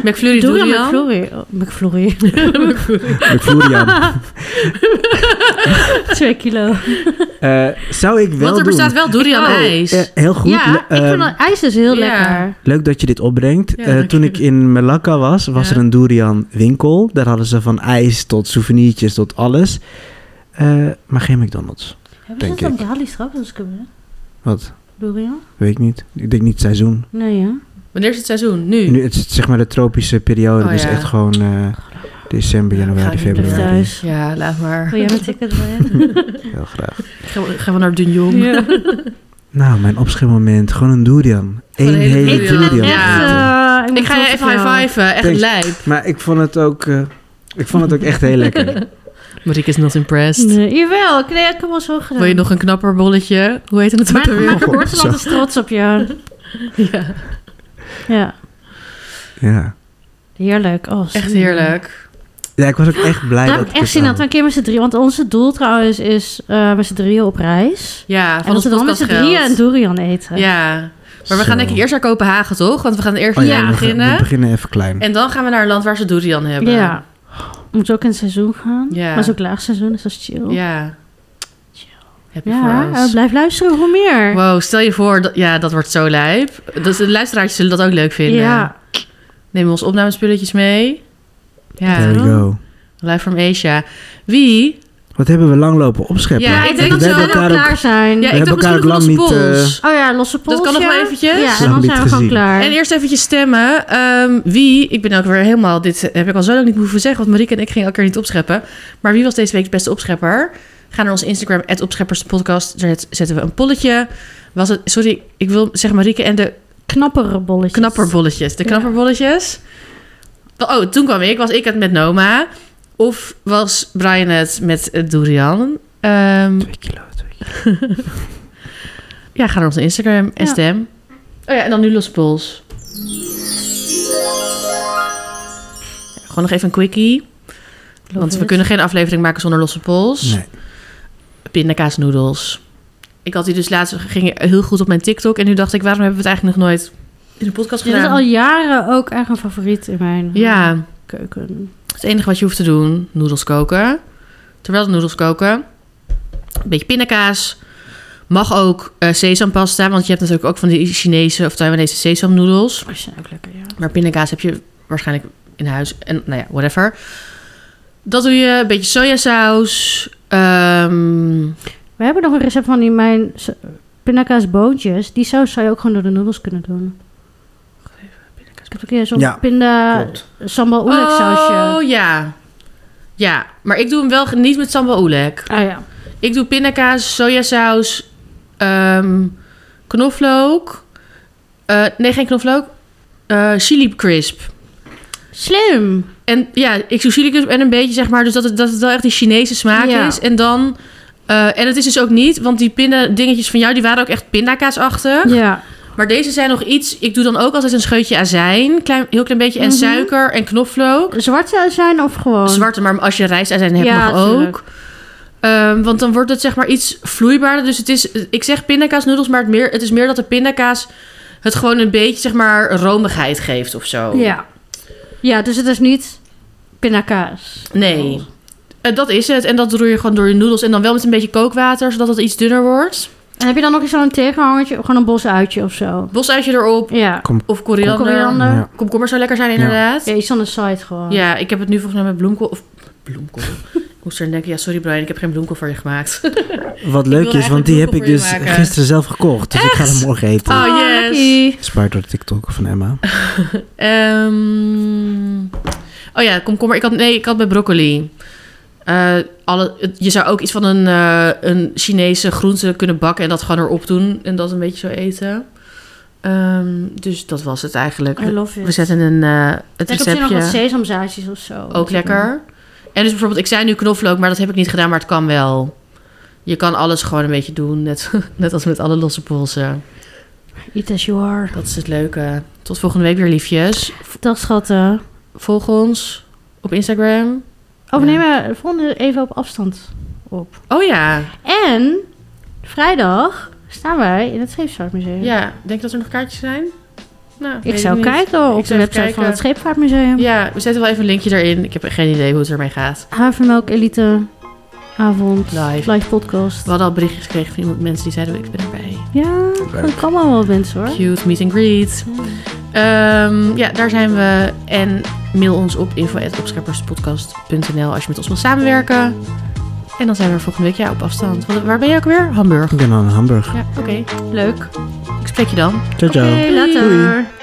Speaker 2: McFlurry
Speaker 3: Durian
Speaker 2: Durian.
Speaker 3: McFlurry. Oh, McFlurry.
Speaker 2: [laughs]
Speaker 3: [laughs]
Speaker 1: McFlurian.
Speaker 3: Twee kilo.
Speaker 1: Eh, zou ik wel
Speaker 2: Want
Speaker 1: doen.
Speaker 2: er bestaat wel Durian
Speaker 1: Oh,
Speaker 2: ijs.
Speaker 1: eh, heel goed.
Speaker 3: ja,
Speaker 1: Le-
Speaker 3: ik
Speaker 1: ehm,
Speaker 3: vind dat ijs is heel
Speaker 2: ja.
Speaker 3: lekker.
Speaker 1: Leuk dat je dit opbrengt.
Speaker 2: Ja,
Speaker 1: Eh,
Speaker 2: dank
Speaker 1: toen
Speaker 2: je.
Speaker 1: ik in Melaka was, was
Speaker 2: Ja.
Speaker 1: er een durian winkel. Daar hadden ze van ijs tot souvenirtjes tot alles. Eh, maar geen McDonald's.
Speaker 3: Hebben ze
Speaker 1: Denk
Speaker 3: dat aan
Speaker 1: ik.
Speaker 3: Bali straks kunnen?
Speaker 1: Wat?
Speaker 3: Durian?
Speaker 1: Weet ik niet. Ik denk niet het seizoen.
Speaker 3: Nee, ja.
Speaker 2: Wanneer is het seizoen? Nu.
Speaker 1: Nu, het is zeg maar de tropische periode.
Speaker 2: Oh,
Speaker 1: dus
Speaker 2: ja.
Speaker 1: echt gewoon eh, december,
Speaker 2: Ga
Speaker 1: januari,
Speaker 2: ik niet
Speaker 3: Blijf
Speaker 1: februari.
Speaker 3: thuis.
Speaker 2: Ja, laat maar.
Speaker 3: Wil jij mijn ticket erin?
Speaker 1: Heel graag.
Speaker 2: Gaan we, gaan we naar Dunjong.
Speaker 3: [laughs] Ja.
Speaker 1: Nou, mijn opschikmoment. Gewoon een durian. Eén
Speaker 2: een hele
Speaker 1: hele
Speaker 2: durian.
Speaker 1: durian.
Speaker 2: Ja.
Speaker 1: eten.
Speaker 3: Echt, eh, moet
Speaker 2: Ik ga je
Speaker 3: trots op
Speaker 2: even
Speaker 3: jou.
Speaker 2: high-fiven. Echt
Speaker 1: Thanks.
Speaker 2: lijp.
Speaker 1: Maar ik vond het ook... eh, ik vond het ook echt heel lekker.
Speaker 2: Marieke is not impressed.
Speaker 3: Nee, jawel, ik, nee, ik heb wel zo gedaan.
Speaker 2: Wil je nog een knapper bolletje? Hoe heet het ook
Speaker 3: Maar mijn
Speaker 2: alweer?
Speaker 3: geboorteland is trots op jou.
Speaker 2: [laughs] Ja.
Speaker 3: Ja,
Speaker 1: Ja.
Speaker 3: heerlijk. Oh,
Speaker 2: Echt
Speaker 3: zin.
Speaker 2: heerlijk.
Speaker 1: ja, ik was ook echt blij dat
Speaker 3: Daar heb ik echt
Speaker 1: het
Speaker 3: zin aan.
Speaker 1: aan-
Speaker 3: Een keer met z'n drieën. Want onze doel trouwens is eh, met z'n drieën op reis.
Speaker 2: Ja,
Speaker 3: en
Speaker 2: van
Speaker 3: dat
Speaker 2: ons
Speaker 3: we dan met z'n drieën een
Speaker 2: podcastgeld.
Speaker 3: durian eten.
Speaker 2: Ja. Maar we
Speaker 1: Zo.
Speaker 2: gaan denk ik eerst naar Kopenhagen, toch? Want we gaan eerst
Speaker 1: Oh
Speaker 2: hier
Speaker 1: we, gaan- we
Speaker 2: beginnen.
Speaker 1: beginnen even klein.
Speaker 2: En dan gaan we naar een land waar ze durian hebben.
Speaker 3: Ja. Moet ook in het seizoen gaan.
Speaker 2: Ja.
Speaker 3: Maar het is ook laagseizoen, dus dat is chill.
Speaker 2: Ja. Happy
Speaker 3: Ja,
Speaker 2: for
Speaker 3: eh,
Speaker 2: us.
Speaker 3: blijf luisteren, hoe meer.
Speaker 2: Wow, stel je voor, dat, ja, dat wordt zo lijp. Dat, de luisteraars zullen dat ook leuk vinden.
Speaker 3: ja.
Speaker 2: Neem ons opnamespulletjes mee.
Speaker 1: There
Speaker 2: Ja,
Speaker 1: we go.
Speaker 2: live from Asia. Wie?
Speaker 1: Wat hebben we lang lopen opscheppen?
Speaker 2: Ja,
Speaker 3: ik denk dat
Speaker 1: we
Speaker 3: ze
Speaker 1: hebben
Speaker 3: wel
Speaker 1: elkaar
Speaker 3: klaar zijn.
Speaker 2: Ja,
Speaker 1: hebben
Speaker 2: ik dacht
Speaker 1: elkaar
Speaker 2: misschien nog
Speaker 1: ook
Speaker 2: onze
Speaker 1: lang niet, eh,
Speaker 2: pols.
Speaker 3: Oh ja, losse
Speaker 2: Dat
Speaker 3: polsje.
Speaker 2: kan nog wel eventjes.
Speaker 3: Ja,
Speaker 1: Lang
Speaker 3: en dan
Speaker 1: niet
Speaker 3: zijn we gewoon
Speaker 1: gezien.
Speaker 3: klaar.
Speaker 2: En eerst eventjes stemmen. Ehm, wie, ik ben ook weer helemaal, dit heb ik al zo lang niet hoeven zeggen, want Marieke en ik gingen elkaar niet opscheppen. Maar wie was deze week de beste opschepper? Ga naar onze Instagram, opschepperspodcast. Daar zetten we een polletje. Was het, sorry, ik wil zeggen Marieke en de
Speaker 3: Knappere bolletjes.
Speaker 2: knapperbolletjes. De
Speaker 3: Ja.
Speaker 2: knapperbolletjes. Oh, toen kwam ik. Was ik het met Noma? Of was Brian het met eh, Durian? Ehm,
Speaker 1: Twee kilo, twee kilo.
Speaker 2: ja, ga naar onze Instagram en
Speaker 3: Ja.
Speaker 2: stem. Oh ja, en dan nu Los Pols. Gewoon nog even een quickie.
Speaker 3: Love
Speaker 2: Want we
Speaker 3: it.
Speaker 2: kunnen geen aflevering maken zonder losse pols.
Speaker 1: Nee.
Speaker 2: Pindakaasnoedels. Ik had die dus laatst, ging heel goed op mijn TikTok. En nu dacht ik, waarom hebben we het eigenlijk nog nooit in de podcast
Speaker 3: Dit is
Speaker 2: gedaan?
Speaker 3: al jaren ook echt een favoriet in mijn
Speaker 2: Ja,
Speaker 3: keuken.
Speaker 2: Het enige wat je hoeft te doen, noedels koken. Terwijl de noedels koken, een beetje pindakaas. Mag ook eh, sesampasta, want je hebt natuurlijk ook van die Chinese of Taiwanese sesamnoedels.
Speaker 3: Dat zijn ook lekker, ja.
Speaker 2: Maar pindakaas heb je waarschijnlijk in huis. En nou ja, whatever. Dat doe je, een beetje sojasaus. ehm,
Speaker 3: We hebben nog een recept van die mijn s- pindakaasboontjes. Die saus zou je ook gewoon door de noedels kunnen doen. Ik heb ook hier zo'n
Speaker 1: Ja,
Speaker 3: pinda
Speaker 1: klopt.
Speaker 3: sambal oelek sausje.
Speaker 2: Oh ja. Ja, maar ik doe hem wel niet met sambal oelek.
Speaker 3: Ah ja.
Speaker 2: Ik doe pindakaas, sojasaus, ehm, knoflook. Eh, nee, geen knoflook. Eh, chili crisp.
Speaker 3: Slim.
Speaker 2: En ja, ik doe chili crisp en een beetje zeg maar... dus dat het, dat het wel echt die Chinese smaak
Speaker 3: Ja.
Speaker 2: is. En dan... eh, en het is dus ook niet, want die pinda dingetjes van jou... die waren ook echt pindakaasachtig.
Speaker 3: Ja.
Speaker 2: Maar deze zijn nog iets... ik doe dan ook altijd een scheutje azijn. Klein, heel klein beetje. En
Speaker 3: Mhm.
Speaker 2: suiker en knoflook.
Speaker 3: Zwarte zijn of gewoon?
Speaker 2: Zwarte, maar als je rijstazijn hebt,
Speaker 3: Ja,
Speaker 2: mag
Speaker 3: tuurlijk.
Speaker 2: ook. Ehm, want dan wordt het zeg maar iets vloeibaarder. Dus het is, ik zeg pindakaasnoedels, maar het, meer, het is meer dat de pindakaas het gewoon een beetje zeg maar romigheid geeft of zo.
Speaker 3: Ja. Ja, dus het is niet pindakaas.
Speaker 2: Nee. Eh, dat is het. En dat roer je gewoon door je noedels. En dan wel met een beetje kookwater, zodat het iets dunner wordt.
Speaker 3: En heb je dan nog eens zo'n tegenhangertje? Gewoon een bosuitje of zo?
Speaker 2: Bosuitje erop.
Speaker 3: Ja.
Speaker 2: Of koriander.
Speaker 3: Koriander.
Speaker 1: Ja.
Speaker 2: Komkommer zou lekker zijn inderdaad.
Speaker 3: Ja,
Speaker 2: Ja,
Speaker 3: iets aan de site gewoon.
Speaker 2: ik heb het nu volgens mij met bloemkool... Of bloemkool. [laughs] ik moest er denken, ja sorry Brian, ik heb geen bloemkool voor je gemaakt. [laughs]
Speaker 1: Wat leuk is, want
Speaker 2: eigenlijk
Speaker 1: die heb ik
Speaker 2: bloemkool
Speaker 1: dus
Speaker 2: voor je maken.
Speaker 1: gisteren zelf gekocht. Dus ik ga hem morgen
Speaker 3: Ah.
Speaker 1: eten.
Speaker 2: Oh, yes.
Speaker 3: lucky.
Speaker 1: Spaard door de TikTok van Emma.
Speaker 2: Ehm oh ja, komkommer. Ik had, nee, ik had bij broccoli. Eh, alle, het- je zou ook iets van een, eh, een Chinese groente kunnen bakken en dat gewoon erop doen en dat een beetje zo eten. Ehm, dus dat was het eigenlijk.
Speaker 3: I love it.
Speaker 2: We zetten een, eh het
Speaker 3: Ik heb misschien nog wat
Speaker 2: receptje
Speaker 3: sesamzaadjes of zo.
Speaker 2: ook lekker. En dus bijvoorbeeld, ik zei nu knoflook, maar dat heb ik niet gedaan, maar het kan wel. Je kan alles gewoon een beetje doen, net, [laughs] net als met alle losse polsen.
Speaker 3: Eat as you are.
Speaker 2: Dat is het leuke. Tot volgende week weer, liefjes.
Speaker 3: Dag schatten.
Speaker 2: Volg ons op Instagram.
Speaker 3: Oh, we
Speaker 2: Ja.
Speaker 3: nemen de volgende even op afstand op.
Speaker 2: Oh ja,
Speaker 3: En vrijdag staan wij in het Scheepsvaartmuseum.
Speaker 2: ja. Denk dat er nog kaartjes zijn? Nou, weet
Speaker 3: Ik zou
Speaker 2: niet.
Speaker 3: kijken
Speaker 2: Ik
Speaker 3: op de
Speaker 2: zou even
Speaker 3: website van het
Speaker 2: kijken.
Speaker 3: Scheepvaartmuseum.
Speaker 2: Ja, we zetten wel even een linkje erin. Ik heb geen idee hoe het ermee gaat.
Speaker 3: Havermelk Elite Avond
Speaker 2: Live.
Speaker 3: Live Podcast.
Speaker 2: We hadden al berichtjes gekregen van iemand, mensen die zeiden, ik ben erbij.
Speaker 3: Ja, dat kan wel mensen hoor.
Speaker 2: Cute, meet and greet. Ehm, ja, daar zijn we. En mail ons op info.opschepperspodcast.nl als je met ons wilt samenwerken. En dan zijn we er volgende week ja, op afstand. Want waar ben je ook weer? Hamburg.
Speaker 1: Ik ben aan Hamburg.
Speaker 2: Ja, oké.
Speaker 3: Leuk.
Speaker 2: Ik spreek je dan.
Speaker 1: Ciao, ciao.
Speaker 3: Oké, later.
Speaker 1: Doei.